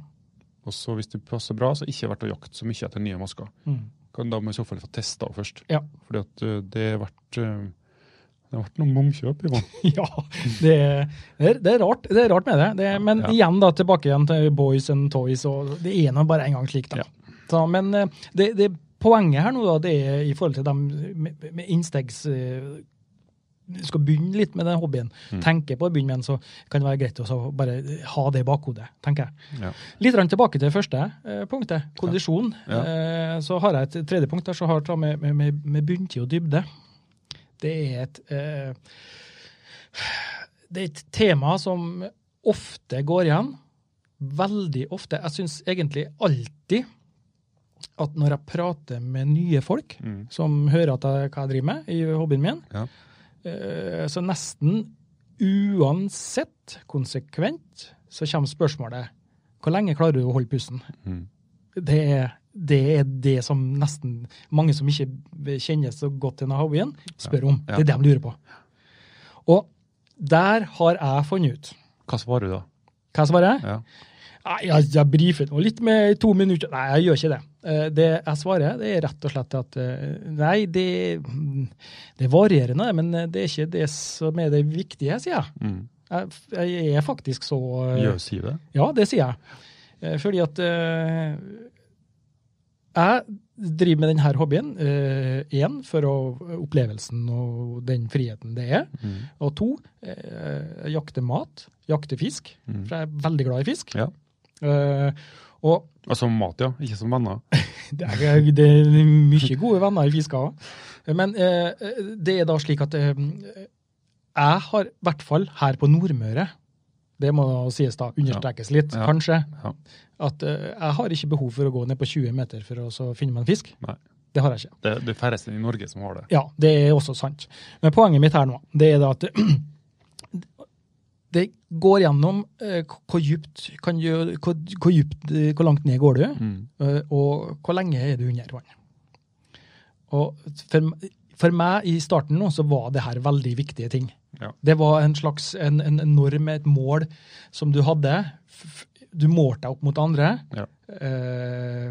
Speaker 1: Og så hvis det passer bra, så ikke vært å jakte så mye etter nye masker.
Speaker 3: Mm.
Speaker 1: Kan da må i så fall få testa henne først.
Speaker 3: Ja.
Speaker 1: Fordi at ø, det har vært ø, det har vært noen momkjøp i vann.
Speaker 3: Ja, det er, det er- det er rart det er rart med det. det er, men
Speaker 1: Ja.
Speaker 3: igjen da, tilbake igjen til boys and toys. og Det er nå bare en gang slik. da.
Speaker 1: Ja.
Speaker 3: Så, men eh, det, det poenget her nå da, det er i forhold til dem med, med innstegs... eh, Du skal begynne litt med den hobbyen.
Speaker 1: Mm.
Speaker 3: Tenke på å begynne med den, så kan det være greit å så bare ha det i bakhodet, tenker jeg.
Speaker 1: Ja.
Speaker 3: Litt grann tilbake til det første eh, punktet, kondisjon.
Speaker 1: Ja.
Speaker 3: Eh, så har jeg et tredje punkt der som har å ta med, med, med, med bunntid og dybde. Det er et eh, det er et tema som ofte går igjen. Veldig ofte. Jeg syns egentlig alltid at når jeg prater med nye folk
Speaker 1: Mm.
Speaker 3: som hører at jeg, hva jeg driver med i hobbyen min,
Speaker 1: Ja.
Speaker 3: eh, så nesten uansett konsekvent så kommer spørsmålet hvor lenge klarer du å holde pusten?
Speaker 1: Mm.
Speaker 3: Det er, det er det som nesten mange som ikke kjenner så godt til denne hobbyen, spør om.
Speaker 1: Ja.
Speaker 3: Det er det de lurer på. Og der har jeg funnet ut
Speaker 1: Hva svarer du da?
Speaker 3: Hva svarer jeg?
Speaker 1: Ja.
Speaker 3: Nei, jeg, jeg brifer nå litt med to minutter. Nei, jeg gjør ikke det. Eh, Det jeg svarer, det er rett og slett at eh, nei, det, det er varierende, men det er ikke det som er det viktige, sier jeg.
Speaker 1: Mm.
Speaker 3: Jeg, jeg er faktisk så eh,
Speaker 1: Gjør sier det.
Speaker 3: Ja, det sier jeg. Eh, Fordi at eh, jeg driver med denne hobbyen, én for å, opplevelsen og den friheten det er,
Speaker 1: Mm.
Speaker 3: og to, eh, jeg jakter mat, jakter fisk,
Speaker 1: Mm.
Speaker 3: for jeg er veldig glad i fisk.
Speaker 1: Ja.
Speaker 3: Eh, og
Speaker 1: Altså mat, ja. Ikke som venner.
Speaker 3: det er, det er mye gode venner i fiska òg. Men eh, det er da slik at eh, jeg har, i hvert fall her på Nordmøre, det må sies da, understrekes litt,
Speaker 1: Ja.
Speaker 3: kanskje,
Speaker 1: Ja.
Speaker 3: at eh, jeg har ikke behov for å gå ned på 20 meter for å så finne meg en fisk.
Speaker 1: Nei.
Speaker 3: Det har jeg ikke.
Speaker 1: Det er det færreste i Norge som har det.
Speaker 3: Ja, det er også sant. Men poenget mitt her nå, det er da at det går gjennom eh, hvor dypt, kan gjø- hvor, hvor dypt, eh, hvor langt ned går du?
Speaker 1: Mm.
Speaker 3: Eh, Og hvor lenge er du under vann? Og for, for meg i starten nå, så var det her veldig viktige ting.
Speaker 1: Ja.
Speaker 3: Det var en slags en, en en norm, et mål som du hadde. F- Du målte deg opp mot andre.
Speaker 1: Ja.
Speaker 3: Eh,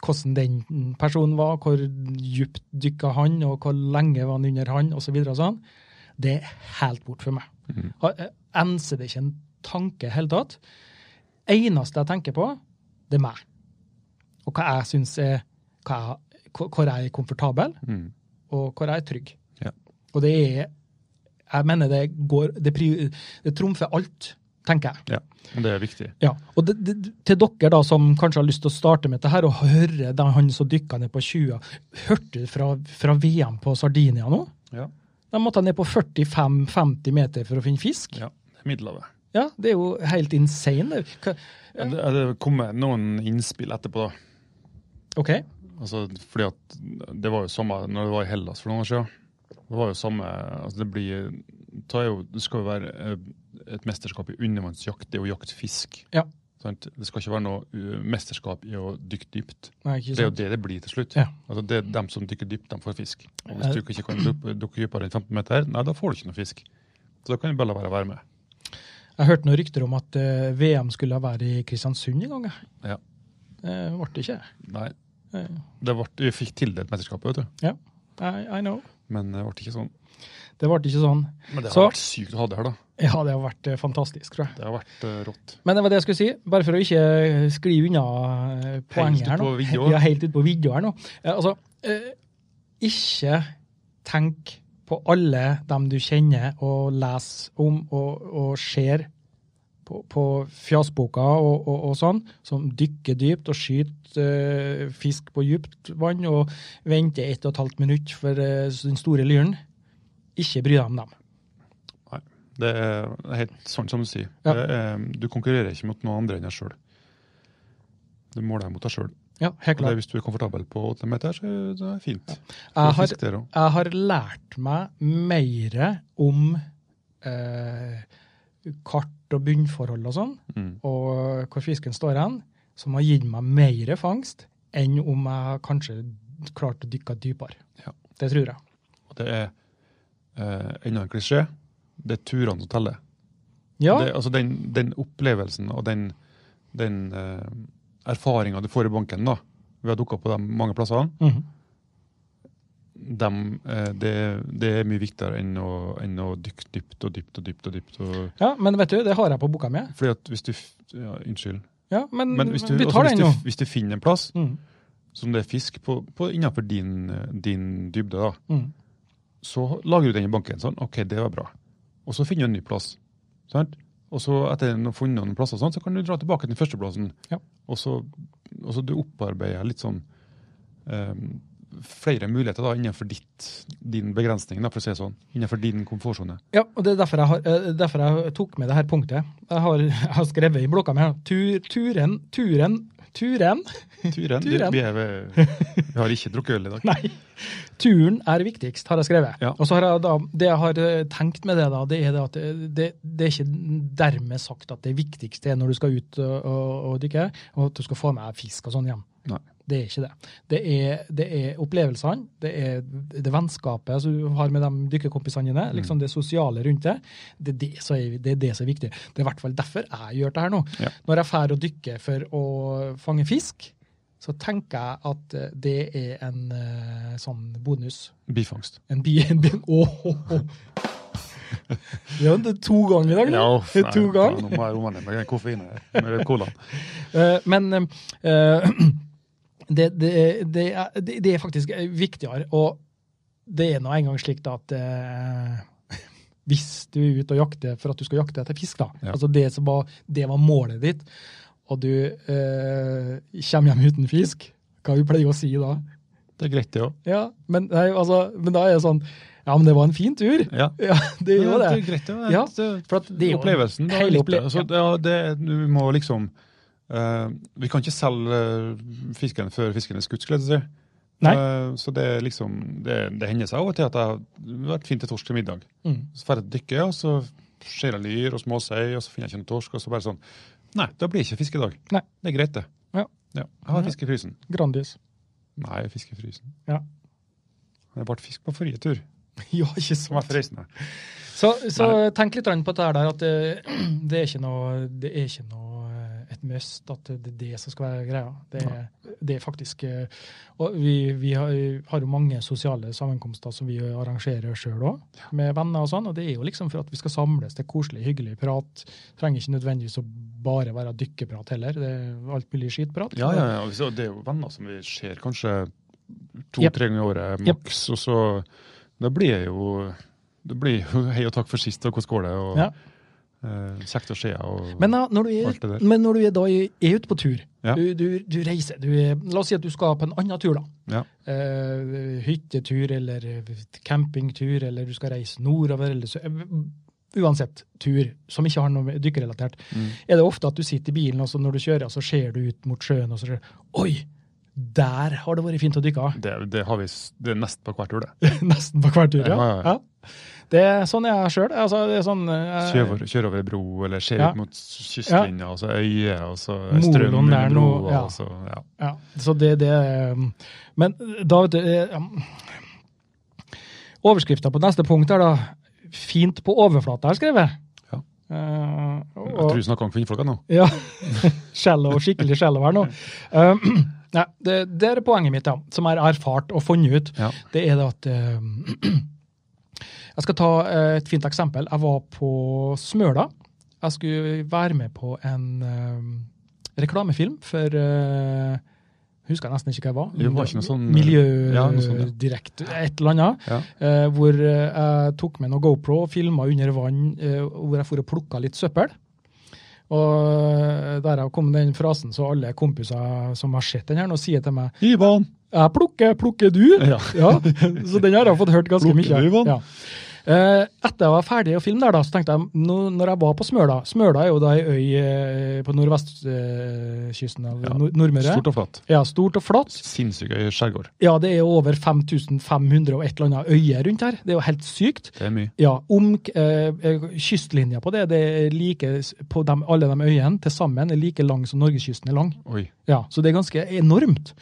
Speaker 3: hvordan den personen var, hvor djupt dykka han, og hvor lenge var han under han, osv. Og sånn. Det er helt bort for meg.
Speaker 1: Mhm.
Speaker 3: Har- Jeg enser det ikke en tanke i det hele tatt. Eneste jeg tenker på, det er meg. Og hva jeg syns er hva jeg, hvor- Hvor jeg er komfortabel,
Speaker 1: Mm.
Speaker 3: og hvor jeg er trygg.
Speaker 1: Ja.
Speaker 3: Og det er Jeg mener det går Det, pri- det trumfer alt, tenker jeg.
Speaker 1: ja. Og det er viktig.
Speaker 3: Ja, og det, det, til dere da som kanskje har lyst til å starte med dette her, og høre da han som dykka ned på 20 Hørte du fra, fra VM på Sardinia nå?
Speaker 1: Ja.
Speaker 3: De måtte ned på 45-50 meter for å finne fisk.
Speaker 1: ja.
Speaker 3: Ja.
Speaker 1: Det er Middelhavet.
Speaker 3: Det er jo helt insane. Hva-
Speaker 1: Ja. Det er- det kommer noen innspill etterpå, da.
Speaker 3: OK?
Speaker 1: Altså, fordi at det var jo samme når det var i Hellas for noen år siden. Det var jo samme altså det, blir, det, er jo, det skal jo være eh, et mesterskap i undervannsjakt. Det er jo jakt fisk.
Speaker 3: Ja.
Speaker 1: Sant? Det skal ikke være noe eh, mesterskap i å dykke dypt.
Speaker 3: Nei, ikke
Speaker 1: Det er jo
Speaker 3: sant.
Speaker 1: det det blir til slutt.
Speaker 3: Ja.
Speaker 1: Altså det er Dem som dykker dypt, de får fisk. Og
Speaker 3: Ja.
Speaker 1: Hvis du ikke kan dukke dukke dypere enn 15 meter, nei, da får du ikke noe fisk. Så da kan du bare la være å være med.
Speaker 3: Jeg hørte noen rykter om at eh, VM skulle være i Kristiansund en gang. jeg.
Speaker 1: Ja.
Speaker 3: Det ble det ikke.
Speaker 1: Nei,
Speaker 3: Eh,
Speaker 1: det ble, Vi fikk tildelt mesterskapet, vet du.
Speaker 3: I, I know.
Speaker 1: men det ble ikke sånn.
Speaker 3: Det ble ikke sånn.
Speaker 1: Men det har
Speaker 3: Så-
Speaker 1: vært sykt å ha det her, da.
Speaker 3: Ja, det har vært eh, fantastisk, tror jeg.
Speaker 1: Det har vært eh, rått.
Speaker 3: Men det var det jeg skulle si, bare for å ikke skli unna eh, poenget
Speaker 1: ut
Speaker 3: her nå.
Speaker 1: på vidda.
Speaker 3: Ja, helt ut på vidda her nå. Eh, Altså, eh, ikke tenk på alle dem du kjenner og leser om og, og ser på, på fjasboka og, og, og sånn, som dykker dypt og skyter eh, fisk på dypt vann og venter ett og et halvt minutt for eh, den store lyren. Ikke bry deg om dem.
Speaker 1: Det er helt sånn som du sier.
Speaker 3: Ja.
Speaker 1: Det er, du konkurrerer ikke mot noen andre enn deg sjøl. Du måler deg mot deg sjøl.
Speaker 3: Ja, helt klart.
Speaker 1: Hvis du er komfortabel på 8 meter, så er det fint.
Speaker 3: Jeg har,
Speaker 1: Fisk der også.
Speaker 3: jeg har lært meg mer om eh, kart og bunnforhold og sånn,
Speaker 1: Mm.
Speaker 3: og hvor fisken står hen, som har gitt meg mer fangst enn om jeg kanskje klarte å dykke dypere.
Speaker 1: Ja.
Speaker 3: Det tror jeg.
Speaker 1: Og det er eh, enda en klisjé. Det er turene som teller.
Speaker 3: Ja,
Speaker 1: Det, altså den, den opplevelsen og den, den eh, erfaringa du får i banken da, ved å dukke opp på de mange plassene,
Speaker 3: mhm.
Speaker 1: dem, eh, det, det er mye viktigere enn å, enn å dykke dypt og dypt og dypt. og dypt. Og,
Speaker 3: ja men vet du, det har jeg på boka mi.
Speaker 1: fordi at hvis du f- ja, Unnskyld.
Speaker 3: Ja, men,
Speaker 1: Men hvis du,
Speaker 3: Mm, vi
Speaker 1: altså,
Speaker 3: tar
Speaker 1: hvis,
Speaker 3: den nå.
Speaker 1: du, hvis du finner en plass
Speaker 3: Mhm,
Speaker 1: som det er fisk på, på innenfor din, eh, din dybde, da,
Speaker 3: mhm.
Speaker 1: så lager du den i banken. sånn, OK, det var bra. Og så finner du en ny plass. sant? Og så etter å ha funnet noen plasser, sånn, så kan du dra tilbake til den første plassen.
Speaker 3: Ja.
Speaker 1: Og, så, og så du opparbeider litt sånn eh, flere muligheter da, innenfor ditt, din begrensning, da, for å si det sånn. Innenfor din komfortsone.
Speaker 3: Ja, og det er derfor jeg, har, eh, derfor jeg tok med det her punktet. Jeg har, jeg har skrevet i blokka mi her. Tur, turen, turen, turen
Speaker 1: Turen.
Speaker 3: Turen.
Speaker 1: Vi, vi, er, ved- vi har ikke drukket øl i dag.
Speaker 3: Nei. Turen er viktigst, har jeg skrevet.
Speaker 1: Ja.
Speaker 3: Og så har jeg da, Det jeg har eh, tenkt med det, da, det er det at det- det, det er ikke dermed sagt at det viktigste er når du skal ut og, og, og dykke, og at du skal få med fisk og sånn hjem.
Speaker 1: Nei.
Speaker 3: Det er ikke det. Det er, det er opplevelsene, det er det vennskapet som du har med de
Speaker 1: Mm.
Speaker 3: dykkerkompisene dine, liksom det sosiale rundt det. Det er det, som er, det er det som er viktig. Det er i hvert fall derfor jeg gjør det her nå.
Speaker 1: Ja.
Speaker 3: Når jeg drar og dykker for å fange fisk, så tenker jeg at eh, det er en eh, sånn bonus.
Speaker 1: Bifangst.
Speaker 3: En bi... En bi Åh, åh, åh. Ja, det er to ganger i dag, nå.
Speaker 1: uff, nei,
Speaker 3: to ganger.
Speaker 1: ja, Nå må jeg roe meg ned med koffein her, med colaen.
Speaker 3: Eh, Men eh, det, det, det, er, det det er faktisk viktigere, og det er nå engang slik da at eh, hvis du er ute og jakter for at du skal jakte etter fisk, da,
Speaker 1: Ja.
Speaker 3: altså det, som var, det var målet ditt, og du eh, kommer hjem uten fisk, hva vi pleier å si da?
Speaker 1: Det er greit, det òg.
Speaker 3: Ja, men, nei, altså, men da er det sånn Ja, men det var en fin tur!
Speaker 1: Ja.
Speaker 3: Ja, det er jo det.
Speaker 1: er eh, greit, det òg.
Speaker 3: Ja,
Speaker 1: Det-
Speaker 3: For at det er jo
Speaker 1: Opplevelsen. Da,
Speaker 3: hele
Speaker 1: litt,
Speaker 3: opple-
Speaker 1: altså, det, ja, det, du må liksom eh, Vi kan ikke selge fisken før fisken er skutt, skulle jeg til å si.
Speaker 3: Nei.
Speaker 1: Eh, så det er liksom det, det hender seg av og til at jeg har vært fint til torsk til middag.
Speaker 3: Mm.
Speaker 1: Så drar jeg og dykker, og så ser jeg lyr og småsei, og så finner jeg ikke noen torsk. Og så bare sånn Nei, da blir det ikke fiskedag.
Speaker 3: Nei.
Speaker 1: Det er greit, det.
Speaker 3: Ja.
Speaker 1: Ja. Jeg har fisk i frysen.
Speaker 3: Grandis.
Speaker 1: Nei, fisk i frysen.
Speaker 3: Ja.
Speaker 1: Det ble fisk på forrige tur.
Speaker 3: Ja, ikke
Speaker 1: Som var
Speaker 3: sant.
Speaker 1: forreisende.
Speaker 3: Så, så tenk litt grann på dette her der, at det, det er ikke noe, det er ikke noe eh, et must, at det er det som skal være greia. Det er, det er faktisk eh, Og vi, vi har, har jo mange sosiale sammenkomster som vi arrangerer sjøl òg, med venner og sånn, og det er jo liksom for at vi skal samles til koselig, hyggelig prat. Trenger ikke nødvendigvis å bare være dykkeprat heller. Det er alt mulig skitprat.
Speaker 1: Ja, ja, ja. og så- Det er jo venner som vi ser kanskje
Speaker 3: Jep.
Speaker 1: to-tre ganger i året maks. Og så Da blir det jo det blir jo hei og takk for sist, og hvordan går det? Og,
Speaker 3: Ja.
Speaker 1: eh, kjekt å se deg. og-
Speaker 3: Men eh, da, når du
Speaker 1: Alt det
Speaker 3: er,
Speaker 1: der.
Speaker 3: men når du er, da, er ute på tur,
Speaker 1: Ja.
Speaker 3: du, du, du reiser du er, La oss si at du skal på en annen tur, da.
Speaker 1: Ja.
Speaker 3: Eh, hyttetur eller eh, campingtur, eller du skal reise nordover. Eller, så, eh, uansett tur som ikke har noe med dykkerrelatert.
Speaker 1: Mm.
Speaker 3: Er det ofte at du sitter i bilen, og så når du kjører, og så ser du ut mot sjøen, og så ser du Oi! Der har det vært fint å dykke!
Speaker 1: Det, det har vi s- det er nest på hvert år, det.
Speaker 3: Nesten på hver tur, ja.
Speaker 1: Ja, ja, ja.
Speaker 3: Det er sånn jeg er sjøl. Altså, det er sånn eh,
Speaker 1: Kjører, over- kjører over ei bro, eller ser
Speaker 3: Ja.
Speaker 1: ut mot kystlinja, og så øye, og så ei
Speaker 3: Moloen
Speaker 1: strøm
Speaker 3: der
Speaker 1: under
Speaker 3: nå,
Speaker 1: broa,
Speaker 3: ja.
Speaker 1: og så ja.
Speaker 3: Ja, så det, det um, Men da vet du eh, um, Overskrifta på neste punkt er da 'Fint på overflata', har jeg skrevet.
Speaker 1: Ja.
Speaker 3: Eh,
Speaker 1: Jeg
Speaker 3: og,
Speaker 1: tror du snakker om kvinnfolka nå.
Speaker 3: ja. Shallow, skikkelig shallow her nå. Um, nei, det, det er poenget mitt, ja, som jeg har erfart og funnet ut.
Speaker 1: Ja.
Speaker 3: Det er det at um, Jeg skal ta eh, et fint eksempel. Jeg var på Smøla. Jeg skulle være med på en um, reklamefilm for eh, Husker jeg nesten ikke hva
Speaker 1: Det var ikke noe sånn- Ja, noe sånt, ja.
Speaker 3: Miljødirekte, et eller annet.
Speaker 1: Ja.
Speaker 3: Eh, hvor eh, jeg tok med noe GoPro og filma under vann, eh, hvor jeg for og plukka litt søppel. eh, Og derav kom den frasen så alle kompiser som har sett den her, nå sier til meg
Speaker 1: Ivan!
Speaker 3: 'Jeg plukker, plukker du?'
Speaker 1: Ja.
Speaker 3: Så den har jeg fått hørt ganske
Speaker 1: Plukker
Speaker 3: mye.
Speaker 1: du, Ivan?
Speaker 3: Ja. Eh, Etter jeg var ferdig å filme der, da, så tenkte jeg nå- når jeg var på Smøla Smøla er jo da ei øy eh, på nordvestkysten av
Speaker 1: Ja.
Speaker 3: Nord- Nordmøre.
Speaker 1: Stort og flatt.
Speaker 3: Ja, stort og flatt.
Speaker 1: Sinnssyk øy skjærgård.
Speaker 3: Ja, det er jo over 5500 og et eller annet øyer rundt her. Det er jo helt sykt.
Speaker 1: Det er mye.
Speaker 3: Ja, om, eh, eh, Kystlinja på det, det er like s- på dem, alle de øyene til sammen er like lang som norgeskysten er lang.
Speaker 1: Oi.
Speaker 3: Ja, Så det er ganske enormt.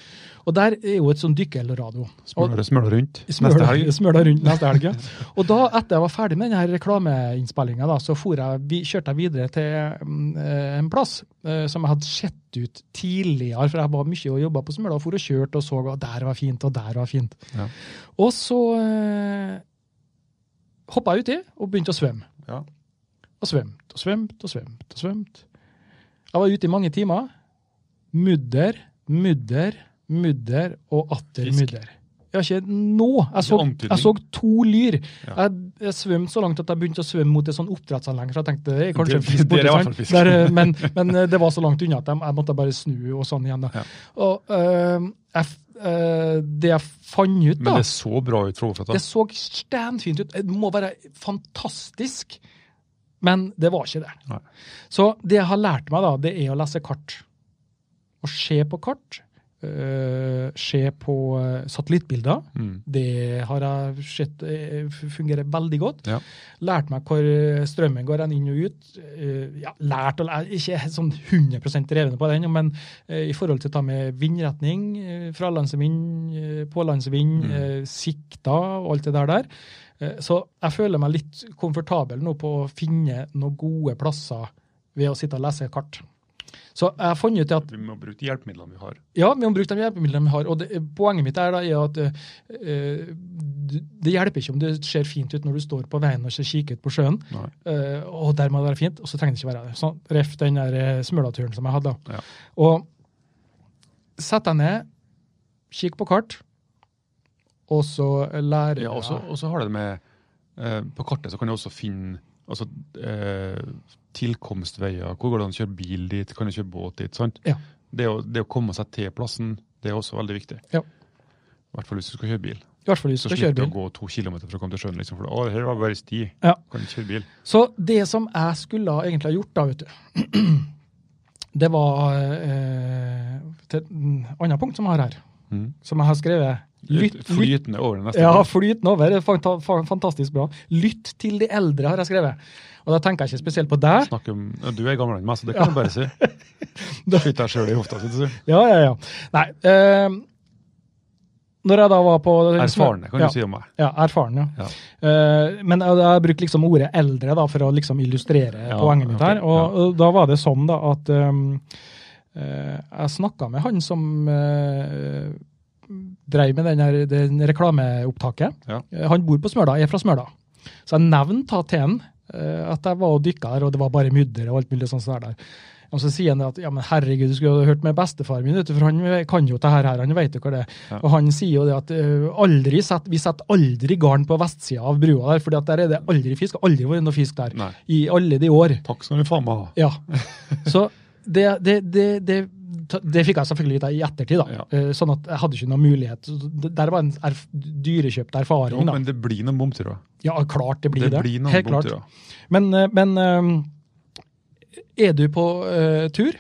Speaker 3: Og der er jo et sånn dykke-eldorado. Og-
Speaker 1: Smøler smøler rundt. Neste
Speaker 3: Smøla
Speaker 1: helg.
Speaker 3: smøla rundt neste helg. ja. Og da, etter jeg var ferdig med denne reklameinnspillinga, så for jeg, vi, kjørte jeg videre til mm, eh, en plass eh, som jeg hadde sett ut tidligere, for jeg var mye og jobba på Smøla og for og kjørte og så, og der var fint, og der var fint.
Speaker 1: Ja.
Speaker 3: Og så eh, hoppa jeg uti og begynte å svømme.
Speaker 1: Ja.
Speaker 3: Og svømte og svømte og svømte. og svømte. Jeg var ute i mange timer. Mudder, mudder, mudder og atter
Speaker 1: Fisk.
Speaker 3: mudder. Jeg har ikke nå. Jeg så,
Speaker 1: antydning.
Speaker 3: jeg så to lyr.
Speaker 1: Ja.
Speaker 3: Jeg, jeg svømte så langt at jeg begynte å svømme mot et sånn oppdrettsanlegg. Så jeg tenkte det er
Speaker 1: Det-
Speaker 3: kanskje en fisk
Speaker 1: det er i
Speaker 3: borti
Speaker 1: hvert
Speaker 3: sånn.
Speaker 1: fall fisk.
Speaker 3: Der, eh, men, men eh, det var så langt unna at jeg, jeg måtte bare snu og sånn igjen. da.
Speaker 1: Ja.
Speaker 3: Og eh, jeg, f- eh, det jeg fant ut,
Speaker 1: Men
Speaker 3: da
Speaker 1: det så bra ut fra overflata.
Speaker 3: det så steinfint ut. Det må være fantastisk. Men det var ikke det.
Speaker 1: Nei.
Speaker 3: Så det jeg har lært meg, da, det er å lese kart. Å se på kart, eh, se på eh, satellittbilder.
Speaker 1: Mm.
Speaker 3: Det har jeg sett eh, f- fungerer veldig godt.
Speaker 1: Ja.
Speaker 3: Lært meg hvor eh, strømmen går hen, inn og ut. Eh, Ja, lært og lært, ikke sånn 100 drevne på den, men eh, i forhold til å ta med vindretning, eh, fralandsvind, eh, pålandsvind,
Speaker 1: Mm.
Speaker 3: eh, sikta og alt det der der. Eh, Så jeg føler meg litt komfortabel nå på å finne noen gode plasser ved å sitte og lese kart. Så jeg har funnet ut at
Speaker 1: Vi må bruke de hjelpemidlene vi har.
Speaker 3: ja, vi må bruke de hjelpemidlene vi har. Og det, poenget mitt er da er at eh, eh, d- det hjelper ikke om det ser fint ut når du står på veien og ser kikkert på sjøen.
Speaker 1: Nei.
Speaker 3: eh, og der må det være fint, og så trenger det ikke være det. Sånn, Ref den der eh, Smøla-turen som jeg hadde. da.
Speaker 1: Ja.
Speaker 3: Og sett deg ned, kikk på kart, og så lærer
Speaker 1: Ja, og så- og så har det det med eh, På kartet så kan du også finne altså, eh, tilkomstveier. Hvor går det an å kjøre bil dit? Kan du kjøre båt dit? sant?
Speaker 3: Ja.
Speaker 1: Det, å, det å komme seg til plassen, det er også veldig viktig.
Speaker 3: Ja.
Speaker 1: I hvert fall hvis du skal kjøre bil.
Speaker 3: I hvert fall hvis
Speaker 1: Så
Speaker 3: du skal
Speaker 1: slipper du
Speaker 3: kjøre bil.
Speaker 1: å gå to kilometer for å komme til sjøen. Liksom, for å, her var bare sti.
Speaker 3: Ja.
Speaker 1: Kan ikke kjøre bil.
Speaker 3: Så det som jeg skulle ha egentlig ha gjort da, vet du, det var eh, til et annet punkt som jeg har her,
Speaker 1: Mhm.
Speaker 3: som jeg har skrevet. Lytt,
Speaker 1: Et
Speaker 3: lytt,
Speaker 1: Flytende over det neste
Speaker 3: ja,
Speaker 1: gang.
Speaker 3: flytende over. det er Fanta, fa- fantastisk bra. Lytt til de eldre, har jeg skrevet. Og da tenker jeg ikke spesielt på deg.
Speaker 1: Snakke om, ja, du er gamlere enn meg, så det kan du bare si.
Speaker 3: Da-
Speaker 1: Skyt deg sjøl i hofta. sier du.
Speaker 3: Ja, ja, ja. Nei. Eh, når jeg da var på
Speaker 1: Erfarne, kan
Speaker 3: ja,
Speaker 1: du si om meg.
Speaker 3: Ja, erfaren, ja.
Speaker 1: Ja.
Speaker 3: Eh, men jeg, jeg bruker liksom ordet eldre da, for å liksom illustrere
Speaker 1: Ja,
Speaker 3: poenget mitt her.
Speaker 1: ok,
Speaker 3: Og,
Speaker 1: ja.
Speaker 3: og da var det sånn da at ehm, eh, jeg snakka med han som eh, dreiv med den her, den reklameopptaket.
Speaker 1: Ja.
Speaker 3: Eh, Han bor på Smøla, er fra Smøla. Så jeg nevnte da til han eh, at jeg var og dykka her, og det var bare mudder og alt mulig sånt. som er der. Og så sier han at ja, men herregud, du skulle ha hørt med bestefaren min, vet du, for han kan jo det her, her, han vet jo hva det er.
Speaker 1: Ja.
Speaker 3: Og han sier jo det at eh, aldri sett, vi setter aldri garn på vestsida av brua der, fordi at der er det aldri fisk, og aldri vært noe fisk der.
Speaker 1: Nei.
Speaker 3: I alle de år.
Speaker 1: Takk skal du faen meg ha.
Speaker 3: Ja. Så det, det, det, det, det fikk jeg selvfølgelig vite i ettertid, da.
Speaker 1: Ja.
Speaker 3: Eh, Sånn at jeg hadde ikke noen mulighet. Så det- Der var en erf dyrekjøpt
Speaker 1: Jo,
Speaker 3: erfaring, da.
Speaker 1: men det blir noen bomturer.
Speaker 3: Ja, klart det blir
Speaker 1: Det
Speaker 3: det.
Speaker 1: blir noen
Speaker 3: Helt klart.
Speaker 1: bomturer.
Speaker 3: Men, eh, men eh, er du på eh, tur,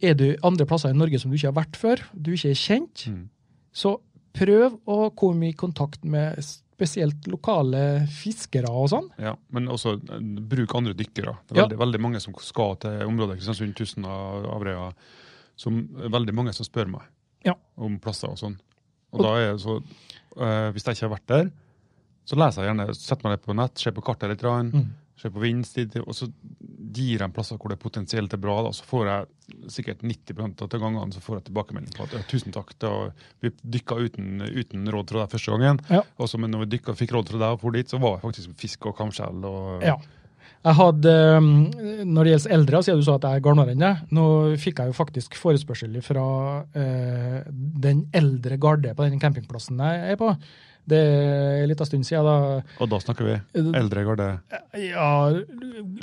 Speaker 3: er du andre plasser i Norge som du ikke har vært før, du ikke er kjent,
Speaker 1: Mm.
Speaker 3: så prøv å komme i kontakt med spesielt lokale fiskere og sånn.
Speaker 1: Ja, men også eh, bruk andre dykkere. Det er
Speaker 3: Ja.
Speaker 1: veldig, veldig mange som skal til området Kristiansund, Tusen og Averøya. Som eh, veldig mange som spør meg
Speaker 3: Ja.
Speaker 1: om plasser og sånn. Og da er det så, eh, Hvis jeg ikke har vært der, så leser jeg gjerne. Setter meg litt på nett, ser på kartet litt, grann,
Speaker 3: Mm.
Speaker 1: ser på vindstid, og så gir jeg plasser hvor det potensielt er bra. Da. Så får jeg sikkert 90 av gangene så får jeg tilbakemelding på at ja, tusen takk, da, vi dykka uten, uten råd fra deg første gangen.
Speaker 3: Ja.
Speaker 1: Og så, men når vi dykka, fikk råd fra deg og for dit, så var jeg faktisk med fisk og kamskjell. Og,
Speaker 3: Ja. Jeg hadde, um, Når det gjelder eldre, så er det jo så at jeg er gartner enn deg. Nå fikk jeg jo faktisk forespørsel fra eh, den eldre garde på den campingplassen jeg er på. Det er en liten stund siden. da.
Speaker 1: Og da snakker vi eldre garde.
Speaker 3: Ja,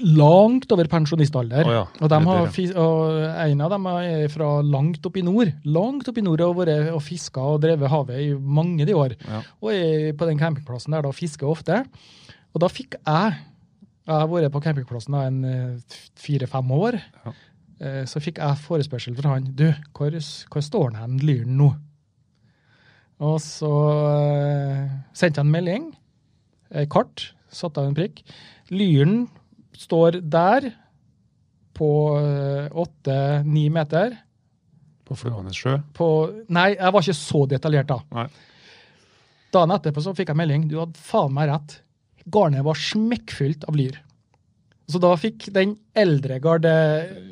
Speaker 3: langt over pensjonistalder.
Speaker 1: Å ja,
Speaker 3: Og, dem har,
Speaker 1: eldre, ja.
Speaker 3: fis- og en av dem er fra langt opp i nord. Langt opp i nord og vært og fiska og drevet havet i mange de år.
Speaker 1: Ja.
Speaker 3: Og er på den campingplassen der da fisker jeg ofte. Og da fikk jeg Jeg har vært på campingplassen da en eh, fire-fem år.
Speaker 1: Ja.
Speaker 3: Eh, Så fikk jeg forespørsel fra han. Du, hvor, hvor står den hen, lyren nå? Og så eh, sendte jeg en melding. eh, Kart. Satte av en prikk. Lyren står der på åtte-ni meter.
Speaker 1: På Fløanes sjø.
Speaker 3: På Nei, jeg var ikke så detaljert da.
Speaker 1: Nei.
Speaker 3: Dagen etterpå så fikk jeg melding. Du hadde faen meg rett. Garnet var smekkfylt av lyr. Så da fikk den eldre garde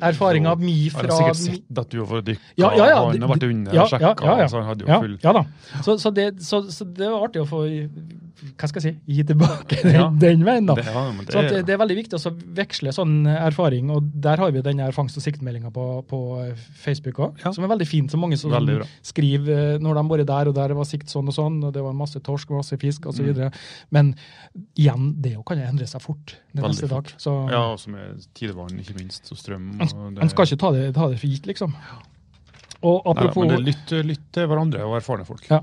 Speaker 3: erfaringa mi
Speaker 1: Jeg har
Speaker 3: fra
Speaker 1: sikkert
Speaker 3: mi-
Speaker 1: sett at du har vært dykka,
Speaker 3: Ja, ja, ja,
Speaker 1: han har vært
Speaker 3: det-
Speaker 1: under
Speaker 3: ja,
Speaker 1: og sjekka,
Speaker 3: ja, ja, ja.
Speaker 1: så han hadde jo
Speaker 3: ja,
Speaker 1: full
Speaker 3: ja da. Så, så, det, så, så det var artig å få Hva skal jeg si? Gi tilbake den,
Speaker 1: Ja.
Speaker 3: den veien, da.
Speaker 1: det, ja, men det,
Speaker 3: Så at det,
Speaker 1: er-
Speaker 3: det er veldig viktig å så veksle sånn erfaring, og der har vi den her fangst- og siktmeldinga på, på eh, Facebook òg,
Speaker 1: Ja.
Speaker 3: som er veldig fint. Så mange som
Speaker 1: Veldig bra.
Speaker 3: skriver eh, når de bare der og der var sikt sånn og sånn, og det var masse torsk, masse fisk osv.
Speaker 1: Mm.
Speaker 3: videre. Men igjen, det jo kan jo endre seg fort den
Speaker 1: Veldig
Speaker 3: neste
Speaker 1: fort.
Speaker 3: dag. Så
Speaker 1: ja, og som er tidevann, ikke minst, og strøm og det,
Speaker 3: man skal ikke ta det, ta det for gitt, liksom. Og
Speaker 1: Nei,
Speaker 3: apropos
Speaker 1: men det, lytt, lytt til hverandre og erfarne folk.
Speaker 3: ja.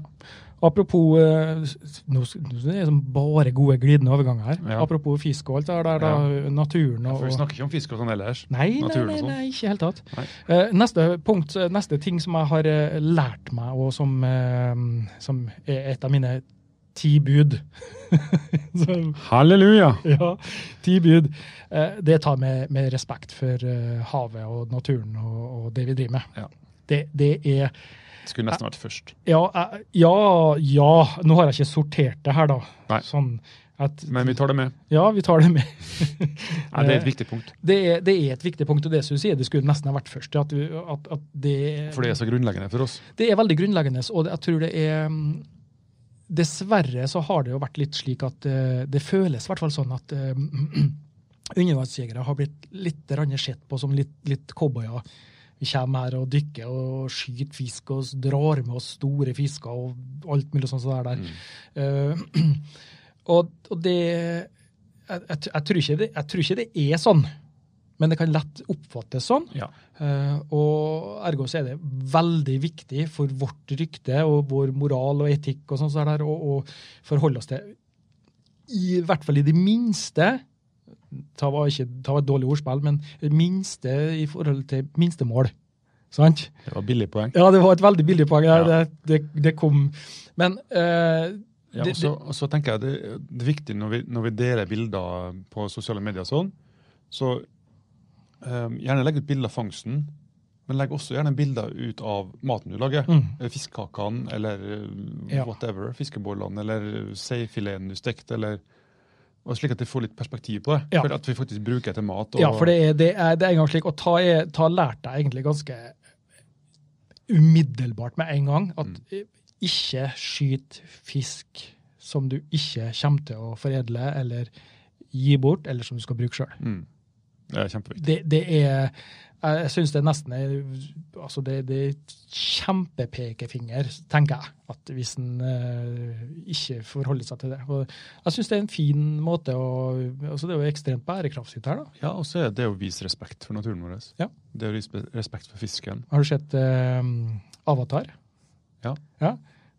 Speaker 3: Apropos eh, s- nå s- nå er det som bare gode glidende overganger her.
Speaker 1: Ja.
Speaker 3: Apropos fisk og alt det der, da, naturen
Speaker 1: Ja,
Speaker 3: og
Speaker 1: for vi snakker ikke om fisk og sånn ellers.
Speaker 3: Nei, nei,
Speaker 1: Naturen
Speaker 3: nei,
Speaker 1: og sånn.
Speaker 3: nei, ikke i det hele tatt.
Speaker 1: Nei.
Speaker 3: Eh, neste punkt, eh, neste ting som jeg har eh, lært meg, og som, eh, som er et av mine ti bud Som-
Speaker 1: Halleluja!
Speaker 3: Ja, ti bud. Eh, det tar med, med respekt for eh, havet og naturen og, og det vi driver med.
Speaker 1: Ja.
Speaker 3: Det, det er
Speaker 1: Skulle nesten vært først.
Speaker 3: ja, eh, ja, ja Nå har jeg ikke sortert det her, da.
Speaker 1: Nei.
Speaker 3: Sånn at
Speaker 1: Men vi tar det med.
Speaker 3: Ja, vi tar det med. Eh,
Speaker 1: Nei, det er et viktig punkt,
Speaker 3: Det er, det er et viktig punkt, og det som du sier, det skulle nesten ha vært først. At, du- at, at det,
Speaker 1: for det er så grunnleggende for oss.
Speaker 3: det er veldig grunnleggende, og det, jeg tror det er mm, Dessverre så har det jo vært litt slik at eh, det føles i hvert fall sånn at eh, undervannsjegere har blitt litt rann sett på som litt, litt cowboyer. Vi kommer her og dykker og skyter fisk og s- drar med oss store fisker og alt mulig sånt som det er der. Eh, og, og det jeg, jeg, jeg, tror ikke det jeg tror ikke det er sånn, men det kan lett oppfattes sånn.
Speaker 1: Ja.
Speaker 3: Eh, og ergo så er det veldig viktig for vårt rykte og vår moral og etikk og sånn som det er der, å, å forholde oss til i hvert fall i det minste Ta var, ikke, ta var et dårlig ordspill, men det minste i forhold til minstemål. Sant?
Speaker 1: Det var billig poeng.
Speaker 3: Ja, det var et veldig billig poeng. der.
Speaker 1: Ja.
Speaker 3: Det, det, det kom Men eh,
Speaker 1: Ja,
Speaker 3: det-
Speaker 1: og, så, og så tenker jeg det, det er viktig når vi, når vi deler bilder på sosiale medier og sånn, så um, gjerne legg ut bilder av fangsten, men legg også gjerne bilder ut av maten du lager.
Speaker 3: Mm.
Speaker 1: Eh, Fiskekakene eller eh,
Speaker 3: Ja.
Speaker 1: whatever. Fiskebollene eller seifileten du stekte, eller og Slik at de får litt perspektiv på det.
Speaker 3: Ja.
Speaker 1: For at vi faktisk bruker det til mat. Og,
Speaker 3: Ja, for det er, det er, det er en gang slik. Og ta, er, ta lærte jeg egentlig ganske umiddelbart med en gang at eh, ikke skyt fisk som du ikke kommer til å foredle eller gi bort, eller som du skal bruke sjøl.
Speaker 1: Mm. det er kjempeviktig.
Speaker 3: Det, det er Jeg syns det nesten er Altså, det, det er kjempepekefinger, tenker jeg, at hvis en eh, ikke forholder seg til det. Og jeg syns det er en fin måte å altså Det er jo ekstremt bærekraftig her, da.
Speaker 1: Ja, og så er det å vise respekt for naturen vår.
Speaker 3: Ja.
Speaker 1: Det er å vise respekt for fisken.
Speaker 3: Har du sett eh, Avatar?
Speaker 1: Ja.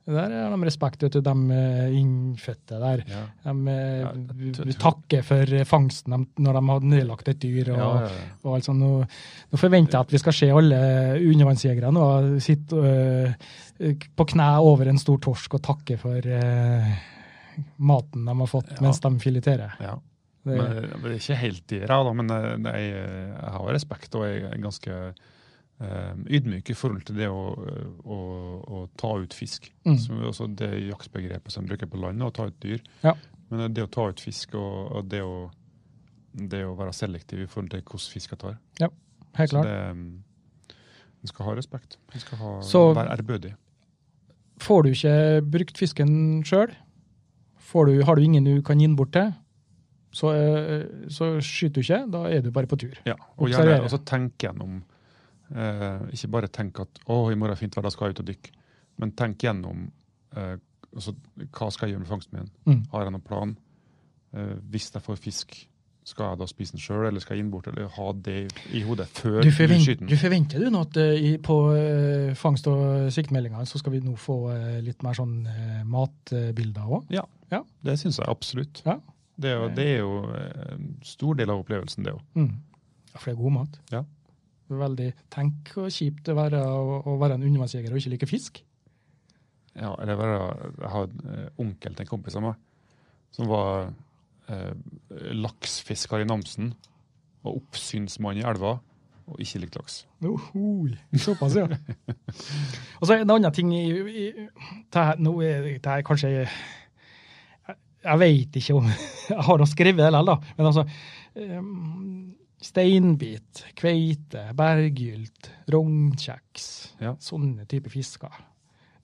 Speaker 3: Der har de respekt vet du, de eh, innfødte der.
Speaker 1: Ja.
Speaker 3: De eh,
Speaker 1: Ja, jeg tror-
Speaker 3: v- takker for eh, fangsten de, når de har nedlagt et dyr. og...
Speaker 1: Ja, ja, ja.
Speaker 3: Og alt sånt. nå, nå forventer jeg at vi skal se alle undervannsjegere nå sitte øh, på kne over en stor torsk og takke for øh, maten de har fått
Speaker 1: Ja.
Speaker 3: mens de fileterer.
Speaker 1: ja.
Speaker 3: Det,
Speaker 1: Men, men det er ikke helt det, da, da, men eh, nei, jeg, jeg har respekt og jeg er ganske eh, ydmyk i forhold til det å, å, å ta ut fisk.
Speaker 3: Mm.
Speaker 1: Som er også det jaktbegrepet som bruker på landet, å ta ut dyr.
Speaker 3: Ja.
Speaker 1: Men det å ta ut fisk og, og det, å, det å være selektiv i forhold til hvordan fisk jeg tar. Så
Speaker 3: helt klart.
Speaker 1: det, mm, en skal ha respekt. En skal ha,
Speaker 3: Så-
Speaker 1: være ærbødig.
Speaker 3: Får du ikke brukt fisken sjøl, har du ingen du kan gi den bort til, så, øh, så skyter du ikke. Da er du bare på tur.
Speaker 1: Ja, og gjerne
Speaker 3: Observere.
Speaker 1: også tenke gjennom eh, Ikke bare tenke at 'å, i morgen er fint vær, da skal jeg ut og dykke', men tenk gjennom eh, altså, hva skal jeg gjøre med fangsten min?
Speaker 3: Mm.
Speaker 1: Har jeg noen plan? Eh, hvis jeg får fisk, skal jeg da spise den sjøl, eller skal jeg inn bort, eller ha det i hodet før
Speaker 3: Du
Speaker 1: du,
Speaker 3: forventer,
Speaker 1: skyter
Speaker 3: du
Speaker 1: den?
Speaker 3: forventer du nå at eh, i, på eh, fangst- og siktmeldingene så skal vi nå få eh, litt mer sånn eh, matbilder òg?
Speaker 1: Det syns jeg absolutt.
Speaker 3: Ja.
Speaker 1: Det er jo, det er jo eh, en stor del av opplevelsen, det òg.
Speaker 3: Mm. Ja, for det er god mat.
Speaker 1: Ja.
Speaker 3: Veldig, tenk hvor kjipt det være å, å være en undervannsjeger og ikke like fisk.
Speaker 1: Ja, eller bare, jeg har en eh, onkel til en kompis av meg som var eh, laksfisker i Namsen og oppsynsmann i elva og ikke likte laks.
Speaker 3: Ohoi, Såpass, ja. og så er det en annen ting i, i, det her, Nå er det her kanskje Jeg, jeg veit ikke om Jeg har da skrevet det likevel, da. Men altså em, Steinbit, kveite, berggylt, rognkjeks.
Speaker 1: Ja.
Speaker 3: Sånne type fisker.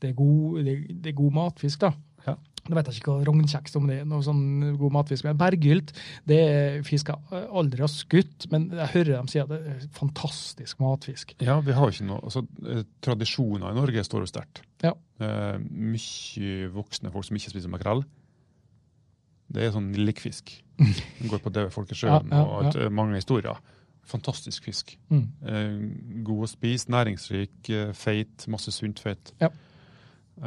Speaker 3: Det er god, det, det er god matfisk, da.
Speaker 1: Ja.
Speaker 3: Nå vet jeg ikke hva rognkjeks om det er, noe sånn god matfisk. Men berggylt, det er fisk jeg aldri har skutt, men jeg hører dem si at det er fantastisk matfisk.
Speaker 1: Ja, vi har jo ikke noe altså, eh, Tradisjoner i Norge står jo sterkt.
Speaker 3: Ja.
Speaker 1: Eh, mye voksne folk som ikke spiser makrell. Det er sånn likfisk. Den går på døde folk i sjøen.
Speaker 3: Ja, ja,
Speaker 1: og alt, eh, mange historier. Fantastisk fisk.
Speaker 3: Mm.
Speaker 1: Eh, god å spise, næringsrik, eh, feit, masse sunt fett.
Speaker 3: Ja.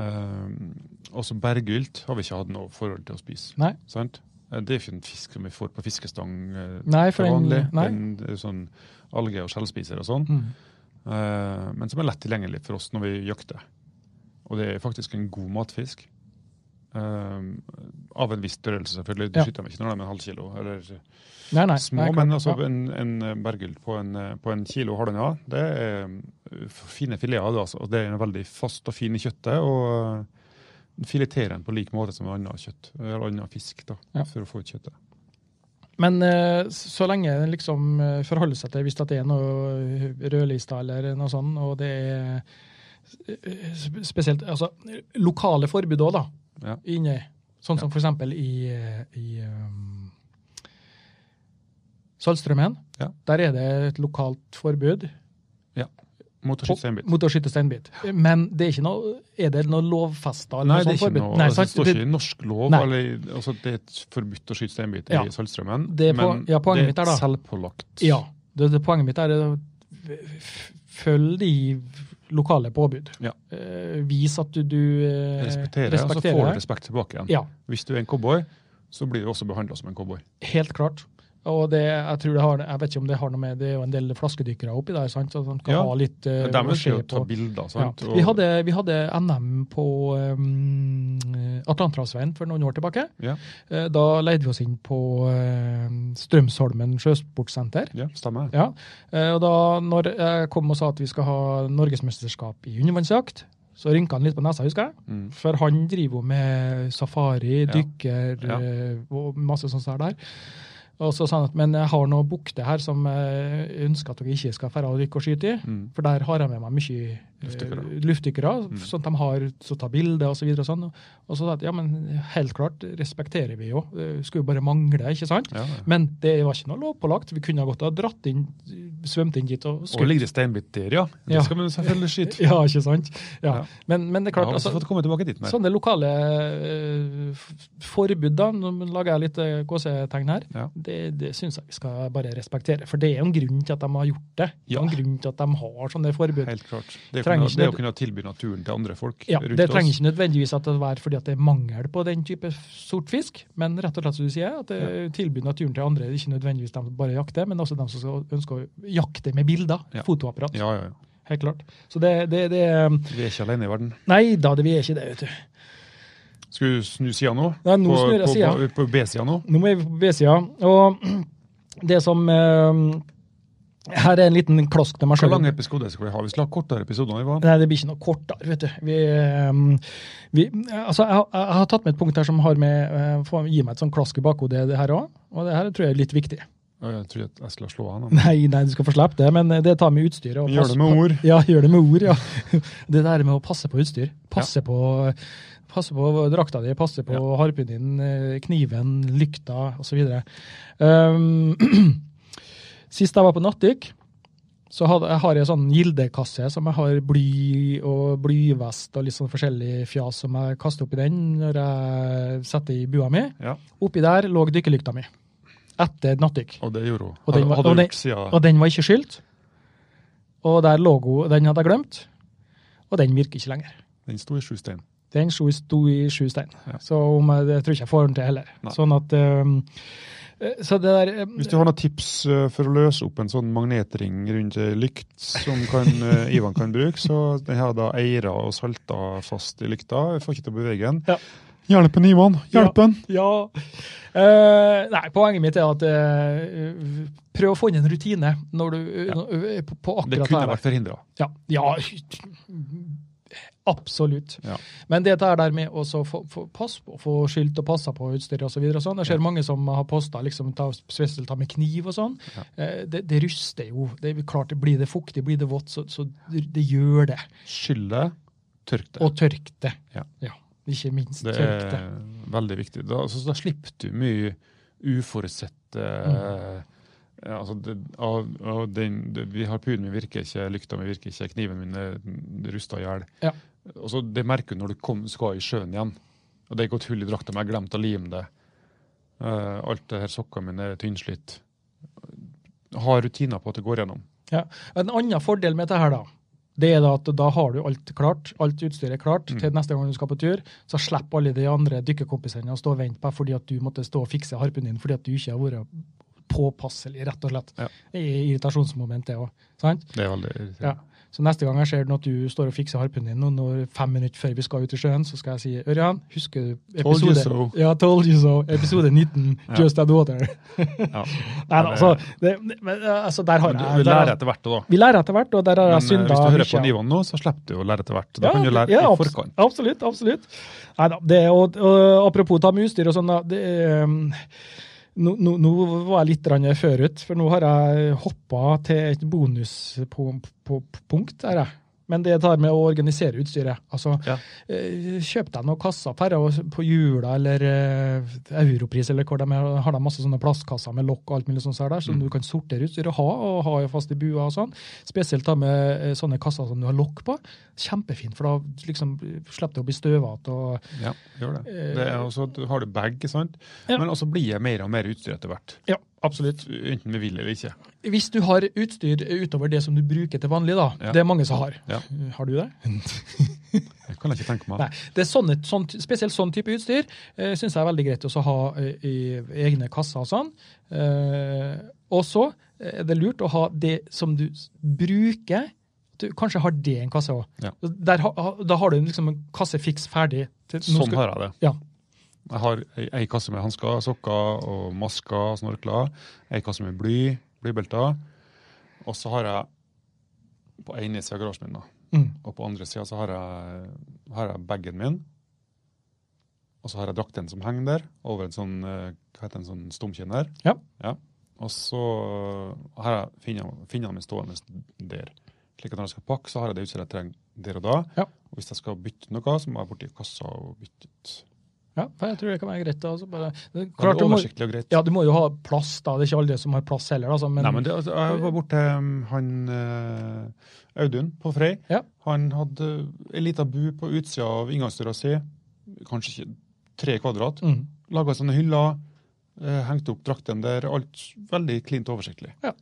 Speaker 1: Eh, også berggylt har vi ikke hatt noe forhold til å spise.
Speaker 3: Nei.
Speaker 1: Sant? Eh, Det er jo ikke en fisk som vi får på fiskestang eh,
Speaker 3: Nei, for
Speaker 1: til
Speaker 3: den-
Speaker 1: vanlig.
Speaker 3: nei.
Speaker 1: Den, det er jo sånn alge og skjellspiser og sånn.
Speaker 3: Mm.
Speaker 1: Eh, men som er lett tilgjengelig for oss når vi jakter. Og det er faktisk en god matfisk. Eh, av en viss størrelse, selvfølgelig. Du
Speaker 3: Ja.
Speaker 1: skyter dem ikke når de er en halv kilo. Eller
Speaker 3: Nei, nei.
Speaker 1: små,
Speaker 3: nei, klart.
Speaker 1: men altså
Speaker 3: Ja.
Speaker 1: en, en berggylt på, en, eh, på en kilo har den, ja. Det er eh, fine fileter, av det, altså. Og det er veldig fast og fin i kjøttet. og eh, fileterer den på lik måte som annet kjøtt, eller annen fisk, da,
Speaker 3: Ja.
Speaker 1: for å få ut kjøttet.
Speaker 3: Men eh, så lenge en liksom eh, forholder seg til hvis at det er noe eh, rødlista eller noe sånt, og det er eh, sp- spesielt altså, lokale forbud òg, da.
Speaker 1: Ja.
Speaker 3: Inni. Sånn som for eksempel i, eh, i um, Saltstraumen.
Speaker 1: Ja.
Speaker 3: Der er det et lokalt forbud
Speaker 1: Mot å
Speaker 3: på-
Speaker 1: skyte seinbit.
Speaker 3: mot å skyte steinbit. Men det er ikke noe Er det noe lovfesta
Speaker 1: Nei, det er
Speaker 3: eller noe
Speaker 1: ikke
Speaker 3: sånt forbud?
Speaker 1: noe,
Speaker 3: sånn Nei,
Speaker 1: altså, det
Speaker 3: sant?
Speaker 1: står
Speaker 3: Det-
Speaker 1: ikke i norsk lov.
Speaker 3: Nei.
Speaker 1: Eller, altså, det er forbudt å skyte steinbit
Speaker 3: Ja.
Speaker 1: i Saltstraumen.
Speaker 3: Det er på-
Speaker 1: men
Speaker 3: ja, poenget
Speaker 1: det
Speaker 3: mitt er da-
Speaker 1: selvpålagt.
Speaker 3: Ja. Det, det, poenget mitt er å f- følg de lokale påbud.
Speaker 1: Ja.
Speaker 3: Eh, vis at du, du eh,
Speaker 1: Respektere, og så
Speaker 3: respekterer
Speaker 1: får du
Speaker 3: det.
Speaker 1: respekt tilbake igjen.
Speaker 3: Ja,
Speaker 1: Hvis du er en cowboy, så blir du også behandla som en cowboy.
Speaker 3: helt klart. Og det, jeg, tror det har, jeg vet ikke om det har noe med Det er jo en del flaskedykkere oppi der, sant? så de kan
Speaker 1: Ja.
Speaker 3: ha litt eh,
Speaker 1: De
Speaker 3: å
Speaker 1: ønsker
Speaker 3: se
Speaker 1: jo å ta
Speaker 3: på.
Speaker 1: bilder.
Speaker 3: Ja.
Speaker 1: sant?
Speaker 3: Vi, hadde, vi hadde NM på um, Atlanterhavsveien for noen år tilbake.
Speaker 1: Ja.
Speaker 3: Eh, Da leide vi oss inn på eh, Strømsholmen sjøsportsenter.
Speaker 1: Ja, stemmer.
Speaker 3: Ja, eh, og da når jeg kom og sa at vi skal ha norgesmesterskap i undervannsjakt, så rynka han litt på nesa, husker jeg.
Speaker 1: Mm.
Speaker 3: For han driver jo med safari,
Speaker 1: Ja.
Speaker 3: dykker
Speaker 1: Ja.
Speaker 3: eh, og masse sånt der. der. Og så sa han at men jeg har noe bukter her som jeg ønsker at dere ikke skal fære og dykke og skyte i.
Speaker 1: Mm.
Speaker 3: For der har jeg med meg mye eh,
Speaker 1: Luftdykkere.
Speaker 3: luftdykkere
Speaker 1: Mm.
Speaker 3: sånn at de har så ta bilder og så videre og sånn. Og så sa jeg at ja, men helt klart respekterer vi jo. Det Skulle jo bare mangle, ikke sant?
Speaker 1: Ja. ja.
Speaker 3: Men det var ikke noe lovpålagt. Vi kunne ha godt ha dratt inn, svømt inn dit og
Speaker 1: Og ligger det steinbit der, ja? Det
Speaker 3: Ja.
Speaker 1: skal man selvfølgelig skyte.
Speaker 3: Ja, ikke sant? Ja.
Speaker 1: Ja.
Speaker 3: Men, men det er
Speaker 1: Jeg
Speaker 3: klart,
Speaker 1: har også
Speaker 3: altså,
Speaker 1: fått komme tilbake dit mer.
Speaker 3: sånne lokale eh, f- forbud, da, nå lager jeg litt eh, gåsetegn her,
Speaker 1: Ja.
Speaker 3: det, det syns jeg vi skal bare respektere. For det er jo en grunn til at de har gjort det. Det er
Speaker 1: Ja.
Speaker 3: jo en grunn til at de har sånne forbud.
Speaker 1: Helt klart. Det er, å kunne,
Speaker 3: Trenger ikke
Speaker 1: det er å
Speaker 3: nød-
Speaker 1: kunne tilby naturen til andre folk
Speaker 3: Ja,
Speaker 1: rundt
Speaker 3: Det trenger
Speaker 1: oss.
Speaker 3: ikke nødvendigvis at det være fordi at det er mangel på den type sort fisk, men rett og slett som du sier, at det tilbyr naturen til andre, ikke nødvendigvis de som bare jakter, men også de som skal- ønsker å jakte med bilder,
Speaker 1: Ja.
Speaker 3: fotoapparat.
Speaker 1: Ja, ja, ja.
Speaker 3: Helt klart. Så det, det, det
Speaker 1: Vi er ikke alene i verden.
Speaker 3: Nei da, det, vi er ikke det, vet du.
Speaker 1: Skal du snu sida nå?
Speaker 3: Ja, nå
Speaker 1: på,
Speaker 3: snur jeg
Speaker 1: på-
Speaker 3: sida.
Speaker 1: På, på B-sida nå?
Speaker 3: Nå må vi på B-sida. Og det som eh, Her er en liten klask til meg
Speaker 1: Hvor
Speaker 3: sjøl.
Speaker 1: lange episoder skal vi ha? Vi skal ha kortere episoder enn vi var.
Speaker 3: Nei, det blir ikke noe kortere, vet du. Vi, eh, vi, altså, jeg, har- jeg har tatt med et punkt her som har med eh, får Gi meg et sånn klask i bakhodet, det her òg. Og det her tror jeg er litt viktig.
Speaker 1: Ja, Jeg tror at jeg skal slå han. da.
Speaker 3: Nei, nei, du skal få slippe det, men det tar med utstyret. og
Speaker 1: Vi gjør
Speaker 3: pass-
Speaker 1: det med ord.
Speaker 3: Ja, gjør det med ord, ja. Det der med å passe på utstyr. Passe på passe på drakta di, passe på harpen din, eh, kniven, lykta osv. Um, sist jeg var på nattdykk, så hadde, jeg har jeg en sånn gildekasse som jeg har bly og blyvest og litt sånn forskjellig fjas som jeg kaster oppi den når jeg setter i bua mi.
Speaker 1: Ja,
Speaker 3: Oppi der lå dykkerlykta mi etter nattdykk.
Speaker 1: og det gjorde hun.
Speaker 3: Og
Speaker 1: Hadde-
Speaker 3: den var-
Speaker 1: hadde
Speaker 3: og
Speaker 1: hun
Speaker 3: den-
Speaker 1: gjort siden-
Speaker 3: Og den var ikke skylt. Og der lå hun, den hadde jeg glemt. Og den virker ikke lenger.
Speaker 1: Den sto i sju stein.
Speaker 3: Den sto i, sto i sju stein.
Speaker 1: Ja.
Speaker 3: Så om jeg, det tror ikke jeg får den til heller.
Speaker 1: Nei.
Speaker 3: Sånn at ehm, eh, Så det der ehm,
Speaker 1: Hvis du har noen tips eh, for å løse opp en sånn magnetring rundt ei lykt som kan, eh, Ivan kan bruke, så den har da eira og salta fast i lykta. Jeg får ikke til å bevege den.
Speaker 3: Ja.
Speaker 1: Hjelpen, Ivan! Hjelpen!
Speaker 3: Ja. Eh, nei, poenget mitt er at eh, prøv å få inn en rutine når du,
Speaker 1: Ja.
Speaker 3: nå- på, på akkurat
Speaker 1: Det kunne vært forhindra.
Speaker 3: Ja, ja absolutt.
Speaker 1: Ja.
Speaker 3: Men det der der med å så få, få pass på, få skilt og passa på utstyret osv. Sånn. Jeg ser mange som har posta liksom, ta, spesielt ta med kniv og sånn. Eh, Det, det ruster jo. Det er klart, Blir det fuktig, blir det vått, så, så det gjør det.
Speaker 1: Skyll det, tørk det.
Speaker 3: Og tørk det.
Speaker 1: Ja.
Speaker 3: Ikke minst
Speaker 1: Det
Speaker 3: tørk det.
Speaker 1: er veldig viktig. Da, altså, da slipper du mye uforutsette eh, altså, det, av, av den, det, vi Harpunen min virker ikke, lykta mi virker ikke, kniven min er rusta i hjel.
Speaker 3: Ja.
Speaker 1: Og så Det merker du når du kom, skal i sjøen igjen. Og Det er ikke et hull i drakta, men jeg glemte å lime det. Eh, alt det her sokkene mine er tynnslitt. Ha rutiner på at det går gjennom.
Speaker 3: Ja. En annen fordel med dette her, da, Det er da at da har du alt klart, alt utstyret er klart
Speaker 1: Mm.
Speaker 3: til neste gang du skal på tur. Så slipper alle de andre dykkerkompisene å stå og vente på deg fordi at du måtte stå og fikse harpen din fordi at du ikke har vært påpasselig, rett og slett.
Speaker 1: Ja.
Speaker 3: Det er irritasjonsmoment, det òg.
Speaker 1: Det er veldig irriterende.
Speaker 3: Ja. Så neste gang jeg ser den at du står og fikser harpen din og når fem minutter før vi skal ut i sjøen, så skal jeg si Ørjan, husker du
Speaker 1: Told you
Speaker 3: episode,
Speaker 1: so.
Speaker 3: ja, told you so. episode 19,
Speaker 1: Ja.
Speaker 3: Just Add Water?
Speaker 1: Ja.
Speaker 3: Nei, altså, det, men, altså der har
Speaker 1: Men du, du
Speaker 3: jeg der har-
Speaker 1: lærer etter hvert, da.
Speaker 3: Vi lærer etter hvert, og der har
Speaker 1: Men eh,
Speaker 3: jeg
Speaker 1: hvis du
Speaker 3: synda
Speaker 1: hører på
Speaker 3: mye.
Speaker 1: nivåene nå, så slipper du å lære etter hvert. Da kan du lære i
Speaker 3: abs-
Speaker 1: forkant.
Speaker 3: Absolutt. absolutt. Neida, det, og, og Apropos ta med utstyr og sånn, da. Det, er, um, nå, nå, nå var jeg litt grann forut, for nå har jeg hoppa til et bonuspunkt. her, jeg. Men det tar med å organisere utstyret. Altså,
Speaker 1: Ja.
Speaker 3: eh, Kjøp deg noen kasser per, og- på Jula eller eh, Europris, eller hvor de er, har de masse sånne plastkasser med lokk og alt mulig sånt så her der, som
Speaker 1: Mm.
Speaker 3: du kan sortere utstyret og ha, og ha fast i bua og sånn. Spesielt ta med eh, sånne kasser som du har lokk på. Kjempefint, for da liksom, slipper du å bli støvete. og-
Speaker 1: Ja, gjør det. det er også, at du har du bag, sant?
Speaker 3: Eh, Ja.
Speaker 1: men også blir jeg mer og mer utstyr etter hvert.
Speaker 3: Ja, absolutt.
Speaker 1: Enten vi vil eller ikke.
Speaker 3: Hvis du har utstyr utover det som du bruker til vanlig, da.
Speaker 1: Ja.
Speaker 3: Det er mange som har.
Speaker 1: Ja.
Speaker 3: Har du det?
Speaker 1: Det kan jeg ikke tenke meg.
Speaker 3: Nei, det er sånne, sånn, Spesielt sånn type utstyr eh, syns jeg er veldig greit også å ha eh, i egne kasser og sånn. Eh, og så eh, er det lurt å ha det som du s- bruker. Du kanskje har det i en kasse òg.
Speaker 1: Ja.
Speaker 3: Da har du liksom en kasse fiks ferdig. til- nå
Speaker 1: Sånn
Speaker 3: skal-
Speaker 1: har jeg det.
Speaker 3: Ja.
Speaker 1: Jeg har ei, ei kasse med hansker, sokker og masker og snorkler. Ei kasse med bly, blybelter. Og så har jeg på ene sida av garasjen min, da.
Speaker 3: Mm.
Speaker 1: og på andre sida så har jeg, har jeg bagen min. Og så har jeg drakten som henger der, over en sånn eh, hva heter det, en sånn stumkinner.
Speaker 3: Ja.
Speaker 1: Og så har jeg finnene finnene mine stående der. Slik at når jeg skal pakke, så har jeg det utstyret jeg trenger der og da.
Speaker 3: Ja.
Speaker 1: Og hvis jeg skal bytte noe, så må jeg borti kassa og bytte ut.
Speaker 3: ja, for jeg tror det kan være greit. da, Altså bare, det, er
Speaker 1: Men
Speaker 3: klart,
Speaker 1: det
Speaker 3: du,
Speaker 1: er
Speaker 3: må,
Speaker 1: oversiktlig og greit.
Speaker 3: ja, du må jo ha plass, da. Det er ikke alle som har plass heller. Altså, men,
Speaker 1: Nei, men det, altså, jeg var borte til han eh, Audun på Frei.
Speaker 3: Ja.
Speaker 1: Han hadde ei lita bu på utsida av inngangsdøra si, kanskje ikke tre kvadrat.
Speaker 3: mm.
Speaker 1: Laga sånne hyller, eh, hengte opp drakten der. Alt veldig klint og oversiktlig.
Speaker 3: Ja.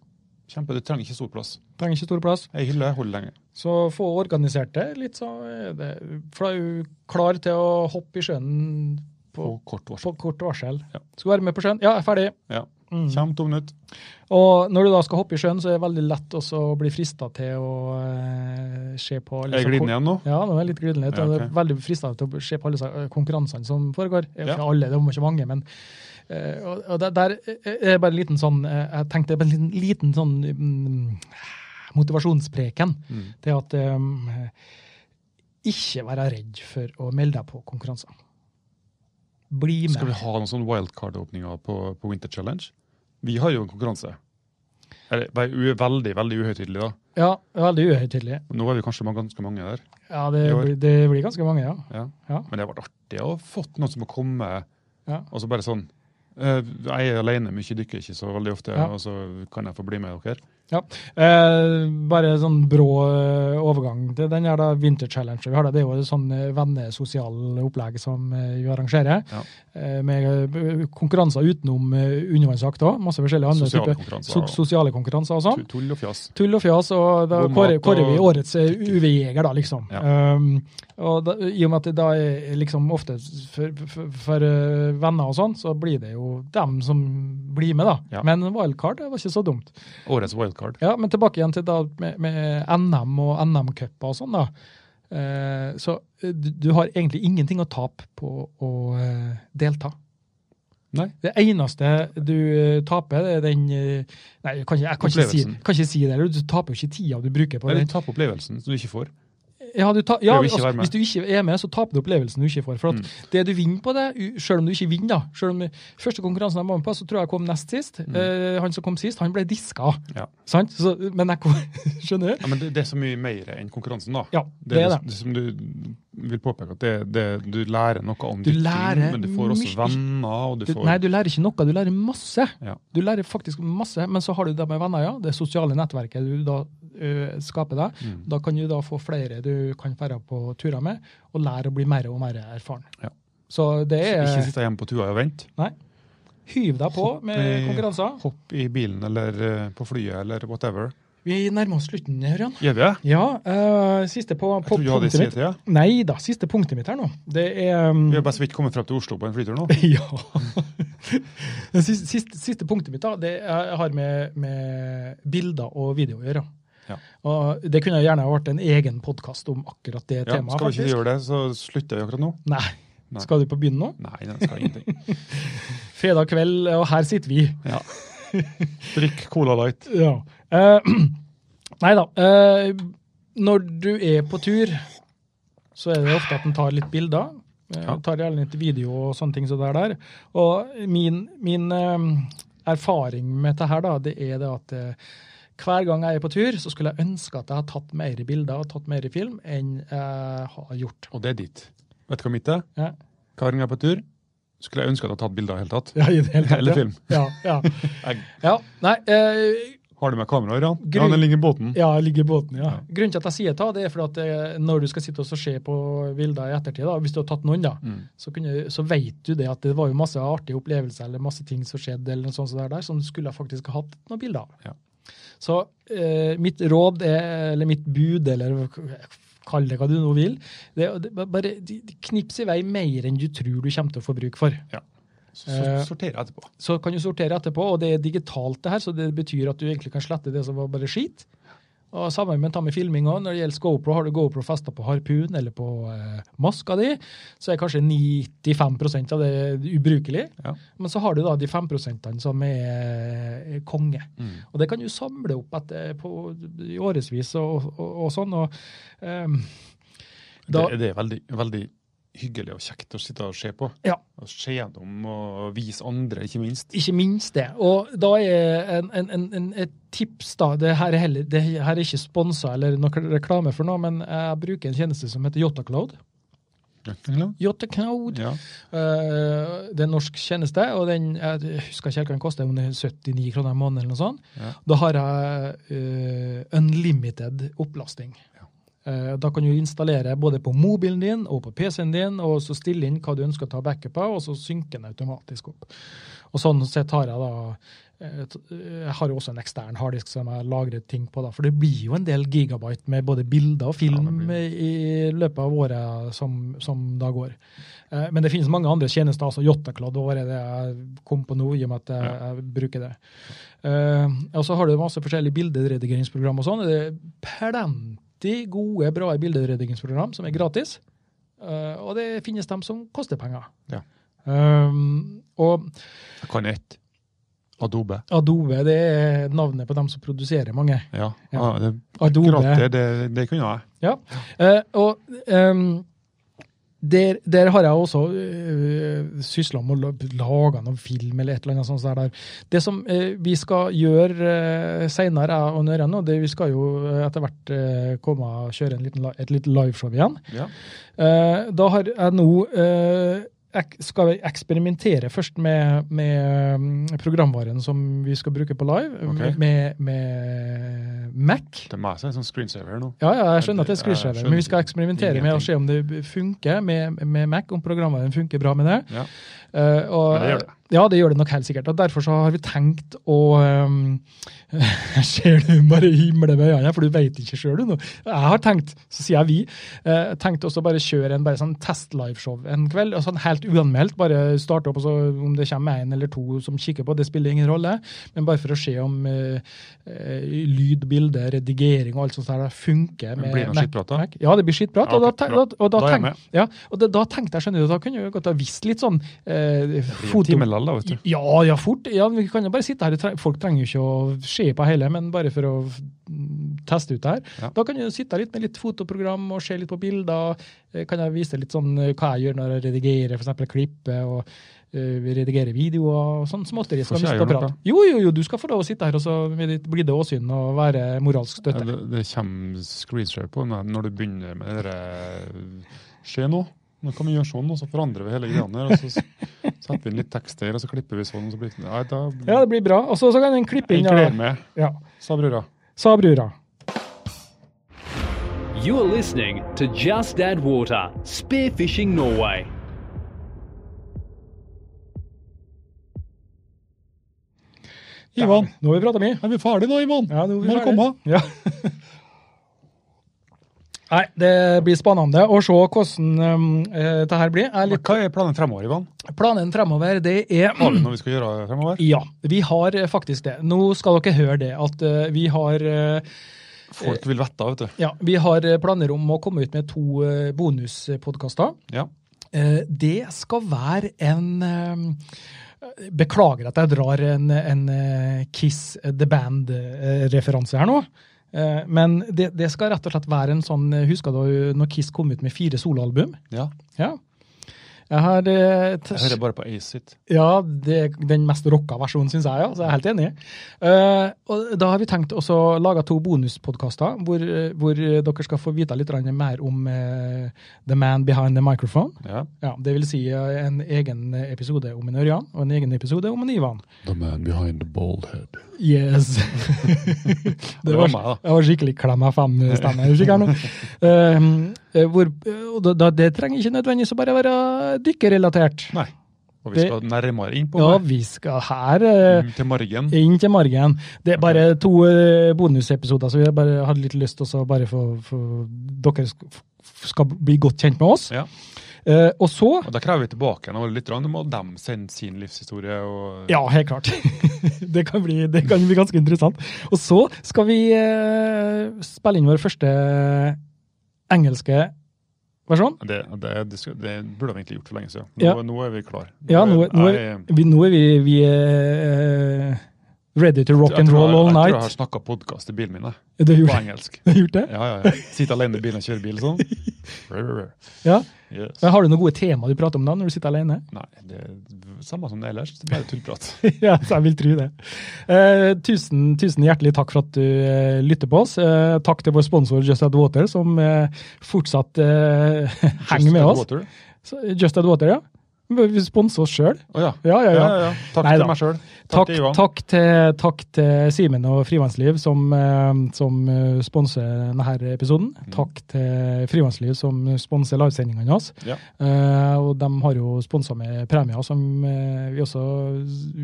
Speaker 1: Kjempe, Du trenger ikke stor plass.
Speaker 3: Trenger ikke stor plass.
Speaker 1: Ei hylle holder lenge.
Speaker 3: Så få organisert det litt, så er det For da er du klar til å hoppe i sjøen
Speaker 1: På
Speaker 3: på,
Speaker 1: kort
Speaker 3: på
Speaker 1: varsel.
Speaker 3: kort varsel.
Speaker 1: Ja.
Speaker 3: Skal være med på sjøen. Ja, jeg er ferdig.
Speaker 1: Ja.
Speaker 3: Mm.
Speaker 1: Kjem to minutter.
Speaker 3: Og når du da skal hoppe i sjøen, så er det veldig lett også å bli frista til å eh, se på alle
Speaker 1: Er jeg
Speaker 3: som-
Speaker 1: glidende igjen nå?
Speaker 3: Ja, nå er jeg litt glidende.
Speaker 1: Ja,
Speaker 3: og Det
Speaker 1: ok.
Speaker 3: er veldig frista til å se på alle disse, eh, konkurransene som foregår. Eh,
Speaker 1: Ja.
Speaker 3: Ikke alle, det var ikke mange, men eh, og, og der, der er det bare en liten sånn eh, Jeg tenkte bare en liten, liten sånn mm, motivasjonspreken.
Speaker 1: Mm.
Speaker 3: det at ehm, ikke være redd for å melde deg på konkurranser. Bli med.
Speaker 1: Skal vi ha noen sånne wildcard-åpninger på, på Winter Challenge? Vi har jo en konkurranse. Eller, bare u- veldig, veldig uhøytidelig, da.
Speaker 3: Ja, veldig uhøytidelig.
Speaker 1: Nå er vi kanskje ma- ganske mange der.
Speaker 3: Ja, det,
Speaker 1: I år.
Speaker 3: blir- det blir ganske mange, ja.
Speaker 1: Ja.
Speaker 3: Ja.
Speaker 1: Men det har vært artig å ha fått noen som har kommet,
Speaker 3: Ja.
Speaker 1: og så bare sånn eh, Jeg er alene mye, dykker ikke så veldig ofte,
Speaker 3: Ja.
Speaker 1: og så kan jeg få bli med dere.
Speaker 3: ja. Eh, bare sånn brå eh, overgang til den her da Winter Challenge. Vi har det, det er jo et sånn eh, vennesosial opplegg som eh, vi arrangerer.
Speaker 1: Ja.
Speaker 3: Eh, med eh, konkurranser utenom eh, undervannsjakt òg. Masse forskjellige andre
Speaker 1: Sosiale
Speaker 3: typer
Speaker 1: konkurranser
Speaker 3: so
Speaker 1: og-
Speaker 3: sosiale konkurranser og sånn.
Speaker 1: Tu- Tull og fjas.
Speaker 3: tull og fjas, og da
Speaker 1: God mat
Speaker 3: kårer, kårer vi
Speaker 1: og-
Speaker 3: årets eh, UV-jeger, da, liksom.
Speaker 1: Ja.
Speaker 3: Um, og da, I og med at det da er liksom ofte for, for, for eh, venner og sånn, så blir det jo dem som blir med, da.
Speaker 1: Ja.
Speaker 3: Men wildcard det var ikke så dumt.
Speaker 1: Årets wildcard.
Speaker 3: Ja, Men tilbake igjen til da med, med NM og NM-cuper og sånn, da. Eh, så eh, du, du har egentlig ingenting å tape på å eh, delta.
Speaker 1: Nei.
Speaker 3: Det eneste du eh, taper, det er den eh, Nei, jeg kan ikke, jeg kan ikke, si,
Speaker 1: Opplevelsen.
Speaker 3: kan ikke si det. eller Du taper jo ikke tida du bruker på
Speaker 1: Eller
Speaker 3: det.
Speaker 1: ta på opplevelsen som du ikke får.
Speaker 3: Ja, du ta, ja
Speaker 1: Prøv å ikke
Speaker 3: altså,
Speaker 1: være med. Mm.
Speaker 3: hvis du ikke er med, så taper du opplevelsen du ikke får. For at det du vinner på det, u- selv om du ikke vinner, da, selv om første konkurransen jeg var med på, så tror jeg jeg kom nest sist.
Speaker 1: Mm.
Speaker 3: Eh, han som kom sist, han ble diska.
Speaker 1: Ja.
Speaker 3: Sant? Så, men jeg kom, skjønner du?
Speaker 1: Ja, men det, det er så mye mer enn konkurransen, da.
Speaker 3: Ja, det er det.
Speaker 1: som du vil påpeke, at det, det, du lærer noe om
Speaker 3: Du
Speaker 1: ditt
Speaker 3: lærer
Speaker 1: men du får også
Speaker 3: mye-
Speaker 1: venner, og du,
Speaker 3: Du,
Speaker 1: får
Speaker 3: nei, du lærer ikke noe, du lærer masse.
Speaker 1: Ja.
Speaker 3: Du lærer faktisk masse, men så har du det med venner, ja. Det sosiale nettverket du da ø, skaper deg.
Speaker 1: Mm.
Speaker 3: Da kan du da få flere du kan være på turer med, og lære å bli mer og mer erfaren.
Speaker 1: Ja.
Speaker 3: Så det er
Speaker 1: Ikke sitte hjemme på tua og vente.
Speaker 3: Nei. Hyv deg på med
Speaker 1: i-
Speaker 3: konkurranser.
Speaker 1: Hopp i bilen eller eh, på flyet eller whatever.
Speaker 3: Vi nærmer oss slutten, Ørjan.
Speaker 1: Gjør vi det?
Speaker 3: Ja, eh, siste på,
Speaker 1: Jeg
Speaker 3: på
Speaker 1: tror vi hadde
Speaker 3: punktet mitt.
Speaker 1: CT. ja.
Speaker 3: Nei da, siste punktet mitt her nå. Det er um,
Speaker 1: Vi har bare så vidt kommet frem til Oslo på en flytur nå.
Speaker 3: Ja. Det siste, siste, siste punktet mitt da, det er- har med, med bilder og video å gjøre.
Speaker 1: Ja.
Speaker 3: Og det kunne gjerne ha vært en egen podkast om akkurat det
Speaker 1: Ja,
Speaker 3: temaet.
Speaker 1: skal vi ikke
Speaker 3: faktisk.
Speaker 1: gjøre det, så slutter vi akkurat nå.
Speaker 3: Nei.
Speaker 1: Nei.
Speaker 3: Skal du på byen nå?
Speaker 1: Nei, det skal ingenting.
Speaker 3: Fredag kveld, og her sitter vi.
Speaker 1: Ja. Drikk Cola Light.
Speaker 3: Ja. Eh, nei da. eh, når du er på tur, så er det ofte at en tar litt bilder. Eh,
Speaker 1: Ja.
Speaker 3: Tar gjerne litt video og sånne ting. Så det er der. Og min, min eh, erfaring med dette her, da, det er det at eh, hver gang jeg er på tur, så skulle jeg ønske at jeg hadde tatt mer bilder og tatt mer film enn jeg har gjort.
Speaker 1: Og det er ditt. Vet du hva mitt er?
Speaker 3: Ja.
Speaker 1: Hver gang jeg er på tur, skulle jeg ønske at jeg hadde tatt bilder i det hele tatt.
Speaker 3: Ja, i det hele tatt,
Speaker 1: Eller
Speaker 3: ja.
Speaker 1: film.
Speaker 3: Ja, ja. ja. Nei, eh,
Speaker 1: Har du med kamera, Ørjan?
Speaker 3: Grunn-
Speaker 1: Ja, den ligger i båten.
Speaker 3: Ja, jeg ligger i båten, ja. Grunnen til at jeg sier ta, det er fordi at eh, når du skal sitte og så se på bilder i ettertid, da, hvis du har tatt noen, da,
Speaker 1: Mm.
Speaker 3: så, kunne, så vet du det at det var jo masse artige opplevelser eller masse ting som skjedde eller noe sånt som det der, som du skulle ha faktisk ha hatt noen bilder av.
Speaker 1: Ja.
Speaker 3: Så eh, mitt råd, er, eller mitt bud, eller kall det hva du nå vil, det, er- det, er bare de- de knips i vei mer enn du tror du kommer til å få bruk for.
Speaker 1: Så, så
Speaker 3: Eh.
Speaker 1: sorterer jeg etterpå.
Speaker 3: Så kan du sortere etterpå, og det er digitalt det her, så det betyr at du egentlig kan slette det som var bare skit. Og samme med ta med filming også. Når det gjelder GoPro, har du GoPro festa på harpun eller på eh, maska di, så er kanskje 95 av det ubrukelig.
Speaker 1: Ja.
Speaker 3: Men så har du da de 5 som er eh, konge.
Speaker 1: Mm.
Speaker 3: Og det kan du samle opp etter på, i årevis og, og, og sånn. Og, ehm, da,
Speaker 1: det, det er veldig, veldig hyggelig og kjekt å sitte og se på.
Speaker 3: Ja.
Speaker 1: Og se gjennom og vise andre, ikke minst.
Speaker 3: Ikke minst det. Og da er en, en, en, en, et tips, da Det her er, heller, det her er ikke sponsa eller noe reklame for noe, men jeg bruker en tjeneste som heter Yotacloud. Yotacloud.
Speaker 1: Ja.
Speaker 3: Eh, det er en norsk tjeneste, og den jeg husker ikke helt hva den koster, om det er 79 kroner i måneden eller noe sånt.
Speaker 1: Ja.
Speaker 3: Da har jeg eh, unlimited opplasting. Eh, Da kan du installere både på mobilen din og på PC-en din, og så stille inn hva du ønsker å ta backup av, og så synker den automatisk opp. Og sånn sett har jeg da eh, t- eh, Jeg har jo også en ekstern harddisk som jeg lagrer ting på, da, for det blir jo en del gigabyte med både bilder og film
Speaker 1: blir
Speaker 3: i løpet av året som, som da går. Eh, Men det finnes mange andre tjenester, altså Jottakladd var det jeg kom på nå, i og med at jeg, jeg bruker det. Eh, og så har du masse forskjellige bilderedigeringsprogram og sånn. Det er plenty gode, bra bilderedigeringsprogram som er gratis. Eh, og det finnes dem som koster penger.
Speaker 1: Ja.
Speaker 3: Eh, og
Speaker 1: Jeg kan ett. Adobe.
Speaker 3: Adobe det er navnet på dem som produserer mange.
Speaker 1: Ja.
Speaker 3: Ja.
Speaker 1: Ah, det,
Speaker 3: Adobe.
Speaker 1: gratis, det, det kunne jeg.
Speaker 3: Ja. Eh, og ehm, der, der har jeg også uh, sysla med å la- lage noen film eller et eller annet sånt. Der. der. Det som eh, vi skal gjøre uh, seinere, jeg og Nøren nå, det vi skal jo eh, etter hvert eh, komme og kjøre en liten, li- et lite liveshow igjen.
Speaker 1: Ja.
Speaker 3: Eh, da har jeg nå eh, ek skal jeg eksperimentere først med, med mm, programvaren som vi skal bruke på live,
Speaker 1: Ok.
Speaker 3: med, med Mac.
Speaker 1: Det er meg som er sånn screensaver nå.
Speaker 3: Ja, ja, jeg skjønner at det er
Speaker 1: Jeg
Speaker 3: screensaver,
Speaker 1: skjønner
Speaker 3: men vi skal
Speaker 1: ikke.
Speaker 3: eksperimentere med å se om det funker med, med Mac, om programvaren funker bra med det.
Speaker 1: Ja.
Speaker 3: Eh, og,
Speaker 1: Men det gjør det.
Speaker 3: Ja, det gjør det nok helt sikkert. Og derfor så har vi tenkt å ehm, Ser du bare himle med øynene, for du vet ikke sjøl, du nå. Jeg har tenkt, så sier jeg vi, eh, tenkt også bare kjøre en bare sånn test-liveshow en kveld. og sånn Helt uanmeldt. Bare starte opp, og så om det kommer en eller to som kikker på, det spiller ingen rolle. Men bare for å se om eh, eh, lyd, bilde, redigering og alt sånt der funker
Speaker 1: Men
Speaker 3: med
Speaker 1: blir det noe
Speaker 3: Mac-
Speaker 1: skittprat da?
Speaker 3: Mac. Ja, det blir skittprat.
Speaker 1: Ja,
Speaker 3: og da,
Speaker 1: ok,
Speaker 3: te-
Speaker 1: bra.
Speaker 3: da, og da,
Speaker 1: Da er jeg
Speaker 3: tenk-
Speaker 1: med.
Speaker 3: ja, og da, da tenkte jeg, skjønner du, da kunne jeg godt ha visst litt sånn
Speaker 1: I
Speaker 3: eh,
Speaker 1: en
Speaker 3: foto...
Speaker 1: time eller da, vet du.
Speaker 3: Ja, ja, fort. Ja, vi kan jo bare sitte her. Det tre- Folk trenger jo ikke å se på hele, men bare for å mm, teste ut det her.
Speaker 1: Ja.
Speaker 3: Da kan du sitte litt med litt fotoprogram og se litt på bilder. Eh, Kan jeg vise litt sånn eh, hva jeg gjør når jeg redigerer, f.eks. klippe og eh, vi redigerer videoer og sånn småtteri.
Speaker 1: Får
Speaker 3: Skal
Speaker 1: ikke
Speaker 3: vi
Speaker 1: jeg
Speaker 3: sitte og
Speaker 1: gjøre
Speaker 3: prate?
Speaker 1: noe?
Speaker 3: Jo, jo, jo, du skal få lov å sitte her og så med ditt blide åsyn og være moralsk
Speaker 1: Ja,
Speaker 3: støtte.
Speaker 1: Det, det kommer screensaver på når, når du begynner med det der, eh, Skje nå. Nå kan vi gjøre sånn, og så forandrer vi hele greia her. Og så s- setter vi inn litt tekst der, og så klipper vi sånn. og så blir det... Nei, da
Speaker 3: Ja, det blir bra. Og så så kan en klippe
Speaker 1: Jeg
Speaker 3: inn
Speaker 1: gleder
Speaker 3: ja.
Speaker 1: meg,
Speaker 3: ja.
Speaker 1: sa brura.
Speaker 3: Sa brura.
Speaker 2: You're listening to Just Add Water, Spearfishing Norway.
Speaker 4: Ivan,
Speaker 3: Nå har vi prata mye.
Speaker 4: er vi ferdige nå, Ivan?
Speaker 3: Ja, nå er vi
Speaker 4: Må du
Speaker 3: ferdig.
Speaker 4: komme?
Speaker 3: Ja. Nei, det blir spennende å se hvordan um, eh, det her blir. Jeg er
Speaker 1: Men
Speaker 3: litt,
Speaker 1: Hva er planen fremover, Ivan?
Speaker 3: planen fremover, det er
Speaker 1: Har vi noe vi skal gjøre fremover?
Speaker 3: Ja, vi har eh, faktisk det. Nå skal dere høre det, at eh, vi har eh,
Speaker 1: Folk vil vite, vet du.
Speaker 3: ja, vi har eh, planer om å komme ut med to eh, bonuspodkaster.
Speaker 1: Ja.
Speaker 3: Eh, Det skal være en eh, Beklager at jeg drar en, en eh, Kiss the Band-referanse her nå. Eh, Men det, det skal rett og slett være en sånn eh, Husker du når Kiss kom ut med fire soloalbum?
Speaker 1: ja.
Speaker 3: Ja. Jeg har eh, t-
Speaker 1: Jeg hører bare på Ace It.
Speaker 3: ja, det er den mest rocka versjonen, syns jeg. ja, så jeg er helt enig. Eh, og da har vi tenkt også å lage to bonuspodkaster hvor, eh, hvor dere skal få vite litt grann mer om eh, The Man Behind the Microphone.
Speaker 1: Ja.
Speaker 3: Ja, det vil si eh, en egen episode om en Ørjan og en egen episode om en Ivan.
Speaker 1: The man behind the bald head.
Speaker 3: Yes.
Speaker 1: Det var meg, da.
Speaker 3: Det var skikkelig klem av fem-stemme. jeg husker nå. Eh, hvor, og da, da, det trenger ikke nødvendigvis å bare være dykkerrelatert.
Speaker 1: Nei. Og vi
Speaker 3: Det-
Speaker 1: skal nærmere inn på
Speaker 3: Ja,
Speaker 1: det.
Speaker 3: vi skal her eh,
Speaker 1: Mm, Til margen.
Speaker 3: inn til margen. Det er bare to eh, bonusepisoder, så jeg bare hadde litt lyst til å bare få, få Dere sk- f- skal bli godt kjent med oss.
Speaker 1: Ja.
Speaker 3: Eh, og så
Speaker 1: Og da krever vi tilbake igjen og litt. grann. Nå må de sende sin livshistorie. og...
Speaker 3: Ja, helt klart. det, kan bli, det kan bli ganske interessant. Og så skal vi eh, spille inn vår første engelske versjon.
Speaker 1: Det, det, det, skal, det burde vi egentlig gjort for lenge siden. Nå,
Speaker 3: Ja.
Speaker 1: nå er vi klar.
Speaker 3: Ja, nå, nå, er,
Speaker 1: jeg-
Speaker 3: vi, nå er vi, vi er, eh, ready to rock
Speaker 1: jeg
Speaker 3: and
Speaker 1: tror
Speaker 3: roll
Speaker 1: jeg-
Speaker 3: all
Speaker 1: Jeg tror jeg har
Speaker 3: night.
Speaker 1: snakka podkast i bilen min, jeg.
Speaker 3: Du har
Speaker 1: på
Speaker 3: gjort,
Speaker 1: engelsk.
Speaker 3: du har gjort det?
Speaker 1: Ja, ja, ja. Sitte alene i bilen og kjøre bil sånn. Rør, rør, rør.
Speaker 3: Ja.
Speaker 1: Yes.
Speaker 3: Men har du noen gode tema du prater om da, når du sitter alene?
Speaker 1: Nei, det er samme som det ellers. Det er bare tullprat.
Speaker 3: ja, så jeg vil tro det. Eh, tusen, tusen hjertelig takk for at du eh, lytter på oss. Eh, takk til vår sponsor Just Add Water, som eh, fortsatt eh, henger med
Speaker 1: Just
Speaker 3: oss.
Speaker 1: water.
Speaker 3: Så, Just Add Water, ja. Men Vi sponser oss sjøl.
Speaker 1: Å ja.
Speaker 3: Ja, ja, ja.
Speaker 1: Takk
Speaker 3: Nei da.
Speaker 1: til meg sjøl. Takk,
Speaker 3: Takk,
Speaker 1: til Ivan.
Speaker 3: takk, til- takk til Simen og Frivannsliv, som, eh, som eh, sponser denne episoden.
Speaker 1: Mm.
Speaker 3: Takk til Frivannsliv, som sponser livesendingene hans.
Speaker 1: Ja.
Speaker 3: Eh, og de har jo sponsa med premier som eh, vi også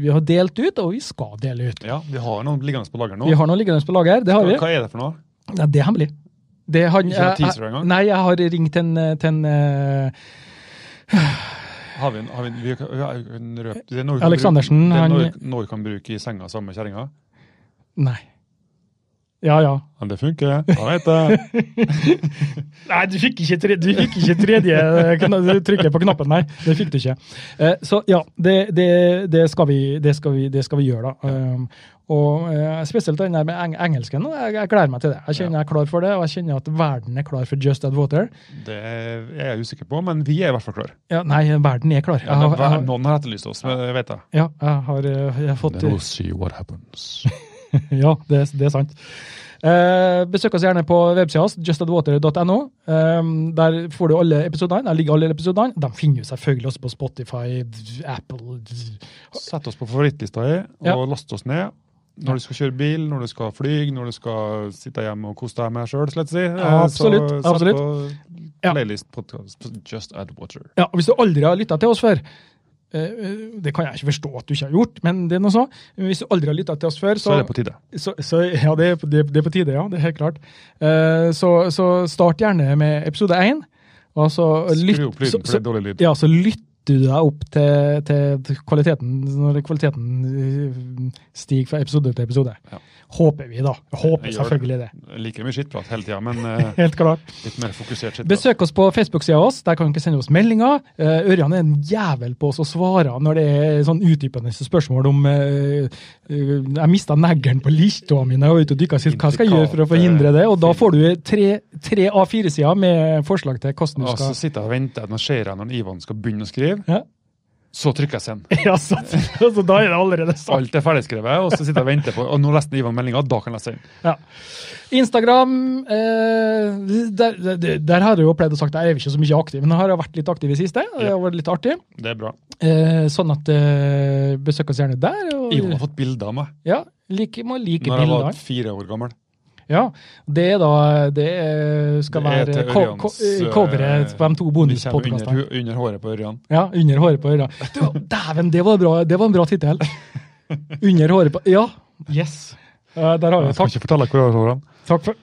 Speaker 3: vi har delt ut, og vi skal dele ut.
Speaker 1: Ja, vi har noen liggende på lager nå.
Speaker 3: Vi har noe liggende på lager. Det har vi.
Speaker 1: Hva er det for noe?
Speaker 3: Nei, det er hemmelig. Det har,
Speaker 1: Ikke noe teaser
Speaker 3: jeg-
Speaker 1: engang?
Speaker 3: Nei, jeg har ringt til en, eh, til en eh,
Speaker 1: Har vi, en- har vi, en- vi, vi har en røp, det er noe vi kan
Speaker 3: Aleksandersen,
Speaker 1: bruke- Det er noe,
Speaker 3: han-
Speaker 1: vi- noe vi kan bruke i senga sammen med kjerringa.
Speaker 3: Nei. Ja, ja.
Speaker 1: Men det funker. Jeg vet det.
Speaker 3: Nei, du fikk ikke, tre, du fikk ikke tredje eh, kna- trykket på knappen, nei. Det fikk du ikke. Eh, så ja, det, det, det, skal vi, det, skal vi, det skal vi gjøre, da. Um, og eh, Spesielt den der med eng engelsken. og Jeg, jeg gleder meg til det. Jeg kjenner jeg er klar for det, og jeg kjenner at verden er klar for Just Add Water.
Speaker 1: Det er jeg usikker på, men vi er i hvert fall klar.
Speaker 3: Ja, nei, verden er klar. Jeg,
Speaker 1: Ja,
Speaker 3: har-
Speaker 1: det er-
Speaker 3: jeg,
Speaker 1: noen har etterlyst oss, men jeg vet det.
Speaker 3: har- ja, jeg har, eh, jeg har fått eh,
Speaker 1: see what happens.
Speaker 3: Ja, det, det er sant. Eh, besøk oss gjerne på websida vår, justadwater.no. Em, Ehm, der får du alle episodene. Der ligger alle episodene. De finner jo selvfølgelig også på Spotify, Apple
Speaker 1: Sett oss på favorittlista di, og
Speaker 3: Ja.
Speaker 1: last oss ned. Når du skal kjøre bil, når du skal fly, når du skal sitte hjemme og kose deg med deg sjøl, slett si. eh,
Speaker 3: Absolutt,
Speaker 1: Så
Speaker 3: absolutt.
Speaker 1: Sett
Speaker 3: Ja.
Speaker 1: på playlist podcast Just Add Water.
Speaker 3: Ja, og Hvis du aldri har lytta til oss før eh, eh, Det kan jeg ikke forstå at du ikke har gjort, men det er noe så. Hvis du aldri har lytta til oss før,
Speaker 1: Så er det på tide.
Speaker 3: Så, så ja, det, er- det, det er på tide, ja. Det er helt klart. Eh, så, så start gjerne med episode én. og så lytt-
Speaker 1: Skru opp lyden,
Speaker 3: så-
Speaker 1: for det
Speaker 3: så-
Speaker 1: er dårlig lyd.
Speaker 3: Ja, så lytter du deg opp til, til til kvaliteten når kvaliteten eh, stiger fra episode til episode.
Speaker 1: Ja.
Speaker 3: Håper vi, da. Håper
Speaker 1: Jeg gjør
Speaker 3: selvfølgelig det.
Speaker 1: Like mye skittprat hele tida, men eh,
Speaker 3: Helt klart.
Speaker 1: litt mer fokusert skittprat.
Speaker 3: Besøk oss på Facebook-sida vår. Der kan dere sende oss meldinger. Eh, Ørjan er en jævel på oss å svare når det er sånn utdypende spørsmål om eh, eh, Jeg mista neglen på lista mi når jeg var ute og dykka sist. Hva skal jeg gjøre for å forhindre det? Og da får du tre, tre A4-sider med forslag til hvordan du
Speaker 1: Og så
Speaker 3: skal
Speaker 1: sitter jeg og venter når ser jeg når Ivan skal begynne å skrive.
Speaker 3: Ja.
Speaker 1: Så trykker jeg send.
Speaker 3: Ja, så, altså, da er det allerede sagt.
Speaker 1: Alt er ferdigskrevet, og så sitter jeg og venter på Og nå leste Ivan meldinga, da kan jeg sende.
Speaker 3: Ja. Instagram eh, der, der, der har jeg jo pleid å sagt jeg er ikke så mye aktiv, men jeg har jo vært litt aktiv i siste. og Det har vært litt artig.
Speaker 1: Det er bra.
Speaker 3: Eh, sånn at eh, besøk oss gjerne der. Og,
Speaker 1: Ivan har fått bilder av meg
Speaker 3: Ja, like, må like
Speaker 1: når jeg var
Speaker 3: bilder.
Speaker 1: fire år gammel.
Speaker 3: Ja, det er da Det eh, skal
Speaker 1: Det er
Speaker 3: være
Speaker 1: til
Speaker 3: ko
Speaker 1: Ørjans,
Speaker 3: ko eh, coveret på de to
Speaker 1: Vi kommer under,
Speaker 3: bonuspodkastene.
Speaker 1: hu- under håret på Ørjan.
Speaker 3: Ja, under håret på øra. Du, Dæven, det var bra, det var en bra tittel! Under håret på Ja! Yes. Eh, der har vi
Speaker 1: Jeg skal
Speaker 3: takk.
Speaker 1: ikke fortelle hvor jeg har den.
Speaker 3: Takk for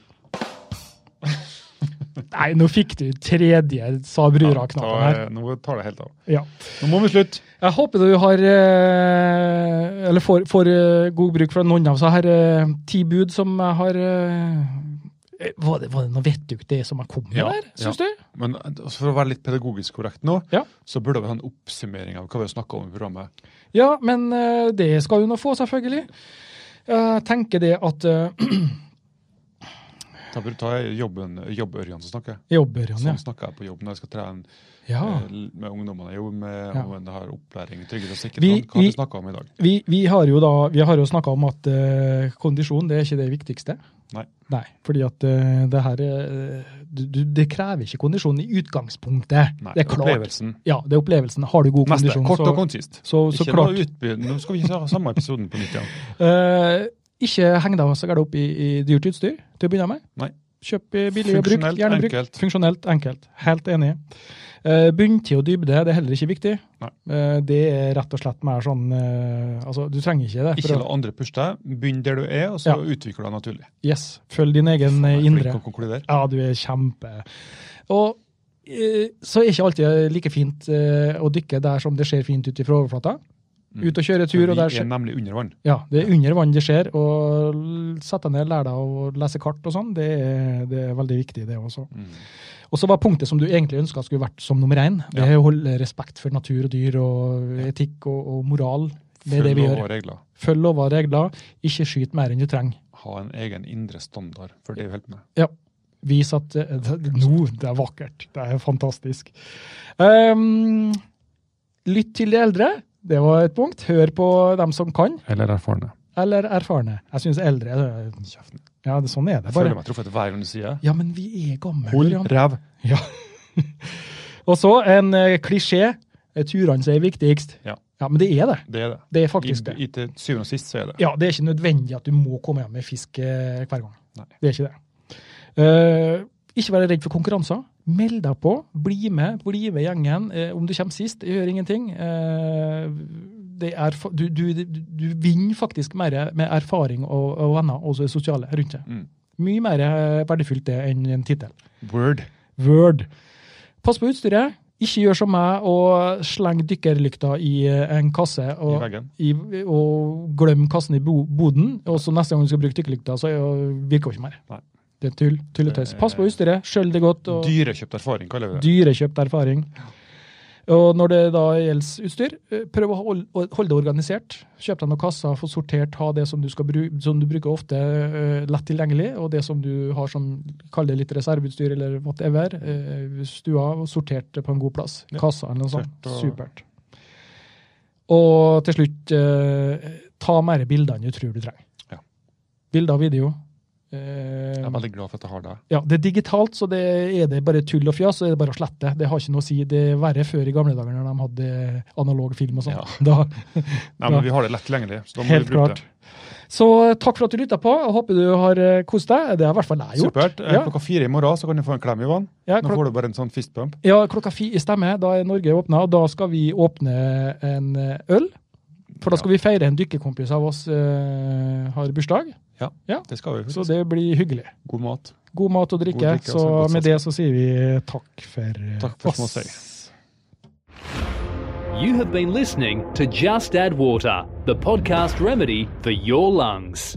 Speaker 3: Nei, nå fikk du tredje sa brura-knappen her.
Speaker 1: Ta- eh, Nå tar det helt av.
Speaker 3: Ja.
Speaker 1: Nå må vi slutte.
Speaker 3: Jeg håper du har eh, Eller får, får eh, god bruk fra noen av så her eh, ti bud som jeg har eh, var, det, var det noe vettugt det som jeg kom med
Speaker 1: Ja,
Speaker 3: der, syns du?
Speaker 1: Men eh, altså, for å være litt pedagogisk korrekt nå,
Speaker 3: Ja.
Speaker 1: så burde vi ha en oppsummering av hva vi har snakka om i programmet.
Speaker 3: Ja, men eh, det skal du nå få, selvfølgelig. Jeg tenker det at uh,
Speaker 1: Da burde ta jobben, jobbørjan som snakker.
Speaker 3: Jobber han,
Speaker 1: Sånn
Speaker 3: ja.
Speaker 1: snakker jeg på jobb når jeg skal trene
Speaker 3: ja.
Speaker 1: eh, med ungdommene jeg jobber med,
Speaker 3: Ja.
Speaker 1: om en har opplæring i trygghet og sikkerhet.
Speaker 3: Vi-
Speaker 1: Hva har
Speaker 3: vi-
Speaker 1: vi snakka om i dag?
Speaker 3: Vi, vi har jo da Vi har jo snakka om at eh, kondisjon det er ikke det viktigste.
Speaker 1: Nei.
Speaker 3: Nei, fordi at eh, det her eh, du, du, Det krever ikke kondisjon i utgangspunktet.
Speaker 1: Nei,
Speaker 3: det er klart.
Speaker 1: Opplevelsen.
Speaker 3: Ja, det er opplevelsen. Har du god
Speaker 1: Neste.
Speaker 3: kondisjon,
Speaker 1: Kort
Speaker 3: så
Speaker 1: og konsist.
Speaker 3: Så, så
Speaker 1: ikke
Speaker 3: klart.
Speaker 1: noe utby- Nå skal vi ikke ha samme episoden på nytt igjen.
Speaker 3: Eh, ikke heng deg så gærent opp i, i dyrt utstyr til å begynne med.
Speaker 1: Nei.
Speaker 3: Kjøp eh, billig og brukt.
Speaker 1: Funksjonelt,
Speaker 3: Gjerne brukt.
Speaker 1: enkelt.
Speaker 3: Funksjonelt enkelt. Helt enig. Uh, Bunntid og dybde det er heller ikke viktig.
Speaker 1: Nei.
Speaker 3: Eh, det er rett og slett mer sånn eh, Altså, du trenger ikke det.
Speaker 1: Ikke
Speaker 3: For
Speaker 1: la
Speaker 3: å,
Speaker 1: andre pushe deg. Begynn der du er, og så
Speaker 3: Ja.
Speaker 1: utvikler du deg naturlig.
Speaker 3: yes, følg din egen eh,
Speaker 1: Jeg er
Speaker 3: indre.
Speaker 1: Flink å konkludere.
Speaker 3: Ja, du er kjempe. Og eh, så er ikke alltid like fint eh, å dykke der som det ser fint ut fra overflata.
Speaker 1: Mm.
Speaker 3: Ut og kjøre tur, og
Speaker 1: Vi
Speaker 3: der
Speaker 1: er nemlig under vann.
Speaker 3: Ja, det er under vann det skjer, og l- sett deg ned, lær deg å lese kart og sånn, det, er- det er veldig viktig det også.
Speaker 1: Mm.
Speaker 3: Og så var punktet som du egentlig ønska skulle vært som nummer én, det
Speaker 1: Ja.
Speaker 3: er å holde respekt for natur og dyr og etikk og, og moral. Det er det vi
Speaker 1: Mm. Følg lov
Speaker 3: gjør.
Speaker 1: og regler.
Speaker 3: Følg lover og regler, ikke skyt mer enn du trenger.
Speaker 1: Ha en egen indre standard for det vi holder på med.
Speaker 3: Ja. Vis at eh, det- Nå, det er vakkert. Det er fantastisk. Ehm, lytt til de eldre. Det var et punkt. Hør på dem som kan,
Speaker 1: Eller erfarne.
Speaker 3: eller erfarne. Jeg syns eldre eh,
Speaker 1: Kjeften.
Speaker 3: Ja, det, sånn er det
Speaker 1: Jeg
Speaker 3: bare.
Speaker 1: føler meg truffet hver gang du sier det.
Speaker 3: Ja, men vi er gamle.
Speaker 1: Hold
Speaker 3: Jan.
Speaker 1: ræv.
Speaker 3: Ja. og så en eh, klisjé. eh, Turene som er viktigst.
Speaker 1: Ja.
Speaker 3: men det er det.
Speaker 1: Det er det.
Speaker 3: Det er
Speaker 1: I,
Speaker 3: faktisk det.
Speaker 1: i, til syvende og sist så er det.
Speaker 3: Ja, Det er ikke nødvendig at du må komme hjem med fisk eh, hver gang.
Speaker 1: Nei.
Speaker 3: Det er ikke det. Eh, ikke være redd for konkurranser. Meld deg på. Bli med. Bli med gjengen. Eh, om du kommer sist, gjør ingenting. Eh, det er, fa- du, du, du, du vinner faktisk mer med erfaring og, og venner, også sosiale, rundt deg.
Speaker 1: Mm.
Speaker 3: Mye mer eh, verdifullt det enn en tittel.
Speaker 1: Word.
Speaker 3: Word. Pass på utstyret. Ikke gjør som meg og sleng dykkerlykta i eh, en kasse
Speaker 1: I
Speaker 3: og,
Speaker 1: veggen.
Speaker 3: i, og glem kassen i bo, boden. Og så neste gang du skal bruke dykkerlykta, så er- virker hun ikke mer.
Speaker 1: Nei.
Speaker 3: Det er tull. Tull og tøys. Pass på utstyret. Skjøll det godt. og
Speaker 1: Dyrekjøpt erfaring, kaller vi det.
Speaker 3: Dyrekjøpt erfaring. Og når det da gjelder utstyr, eh, prøv å hol- å holde det organisert. Kjøp deg noen kasser, få sortert, ha det som du, skal bru som du bruker ofte, eh, lett tilgjengelig, og det som du har som kall det litt reserveutstyr eller whatever. eh, Stua, og sortert det på en god plass.
Speaker 1: Ja.
Speaker 3: Kasser eller noe sånt.
Speaker 1: Tørt og-
Speaker 3: Supert. Og til slutt, eh, ta mer bilder enn du tror du trenger.
Speaker 1: Ja.
Speaker 3: Bilder og video.
Speaker 1: Jeg
Speaker 3: Eh,
Speaker 1: er veldig glad for at jeg har deg.
Speaker 3: ja, det er digitalt, så det er det bare tull og fjas, så er det bare å slette. Det har ikke noe å si. Det er verre før i gamle dager når de hadde analog film og sånn.
Speaker 1: Ja.
Speaker 3: Da,
Speaker 1: Nei, men vi har det lett tilgjengelig, så da må
Speaker 3: helt
Speaker 1: vi bruke
Speaker 3: klart. Så eh, takk for at du lytta på. Jeg håper du har eh, kost deg. Det har i hvert fall
Speaker 1: det.
Speaker 3: jeg gjort.
Speaker 1: Supert. Eh,
Speaker 3: Ja.
Speaker 1: Klokka fire i morgen så kan du få en klem, Ivan.
Speaker 3: Ja,
Speaker 1: Nå
Speaker 3: klok
Speaker 1: får du bare en sånn fist bump.
Speaker 3: ja, klokka fi stemmer. Da er Norge åpna, og da skal vi åpne en eh, øl. For da skal vi feire en dykkerkompis av oss eh, har bursdag.
Speaker 1: Det skal vi.
Speaker 3: Så det blir hyggelig.
Speaker 1: God mat.
Speaker 3: God mat og drikke.
Speaker 1: God drikke,
Speaker 3: så
Speaker 1: altså, godt
Speaker 3: med det så sier vi takk for, eh,
Speaker 1: Takk for små
Speaker 3: oss.
Speaker 1: steg.
Speaker 2: You have been listening to Just Add Water, the podcast remedy for your lungs.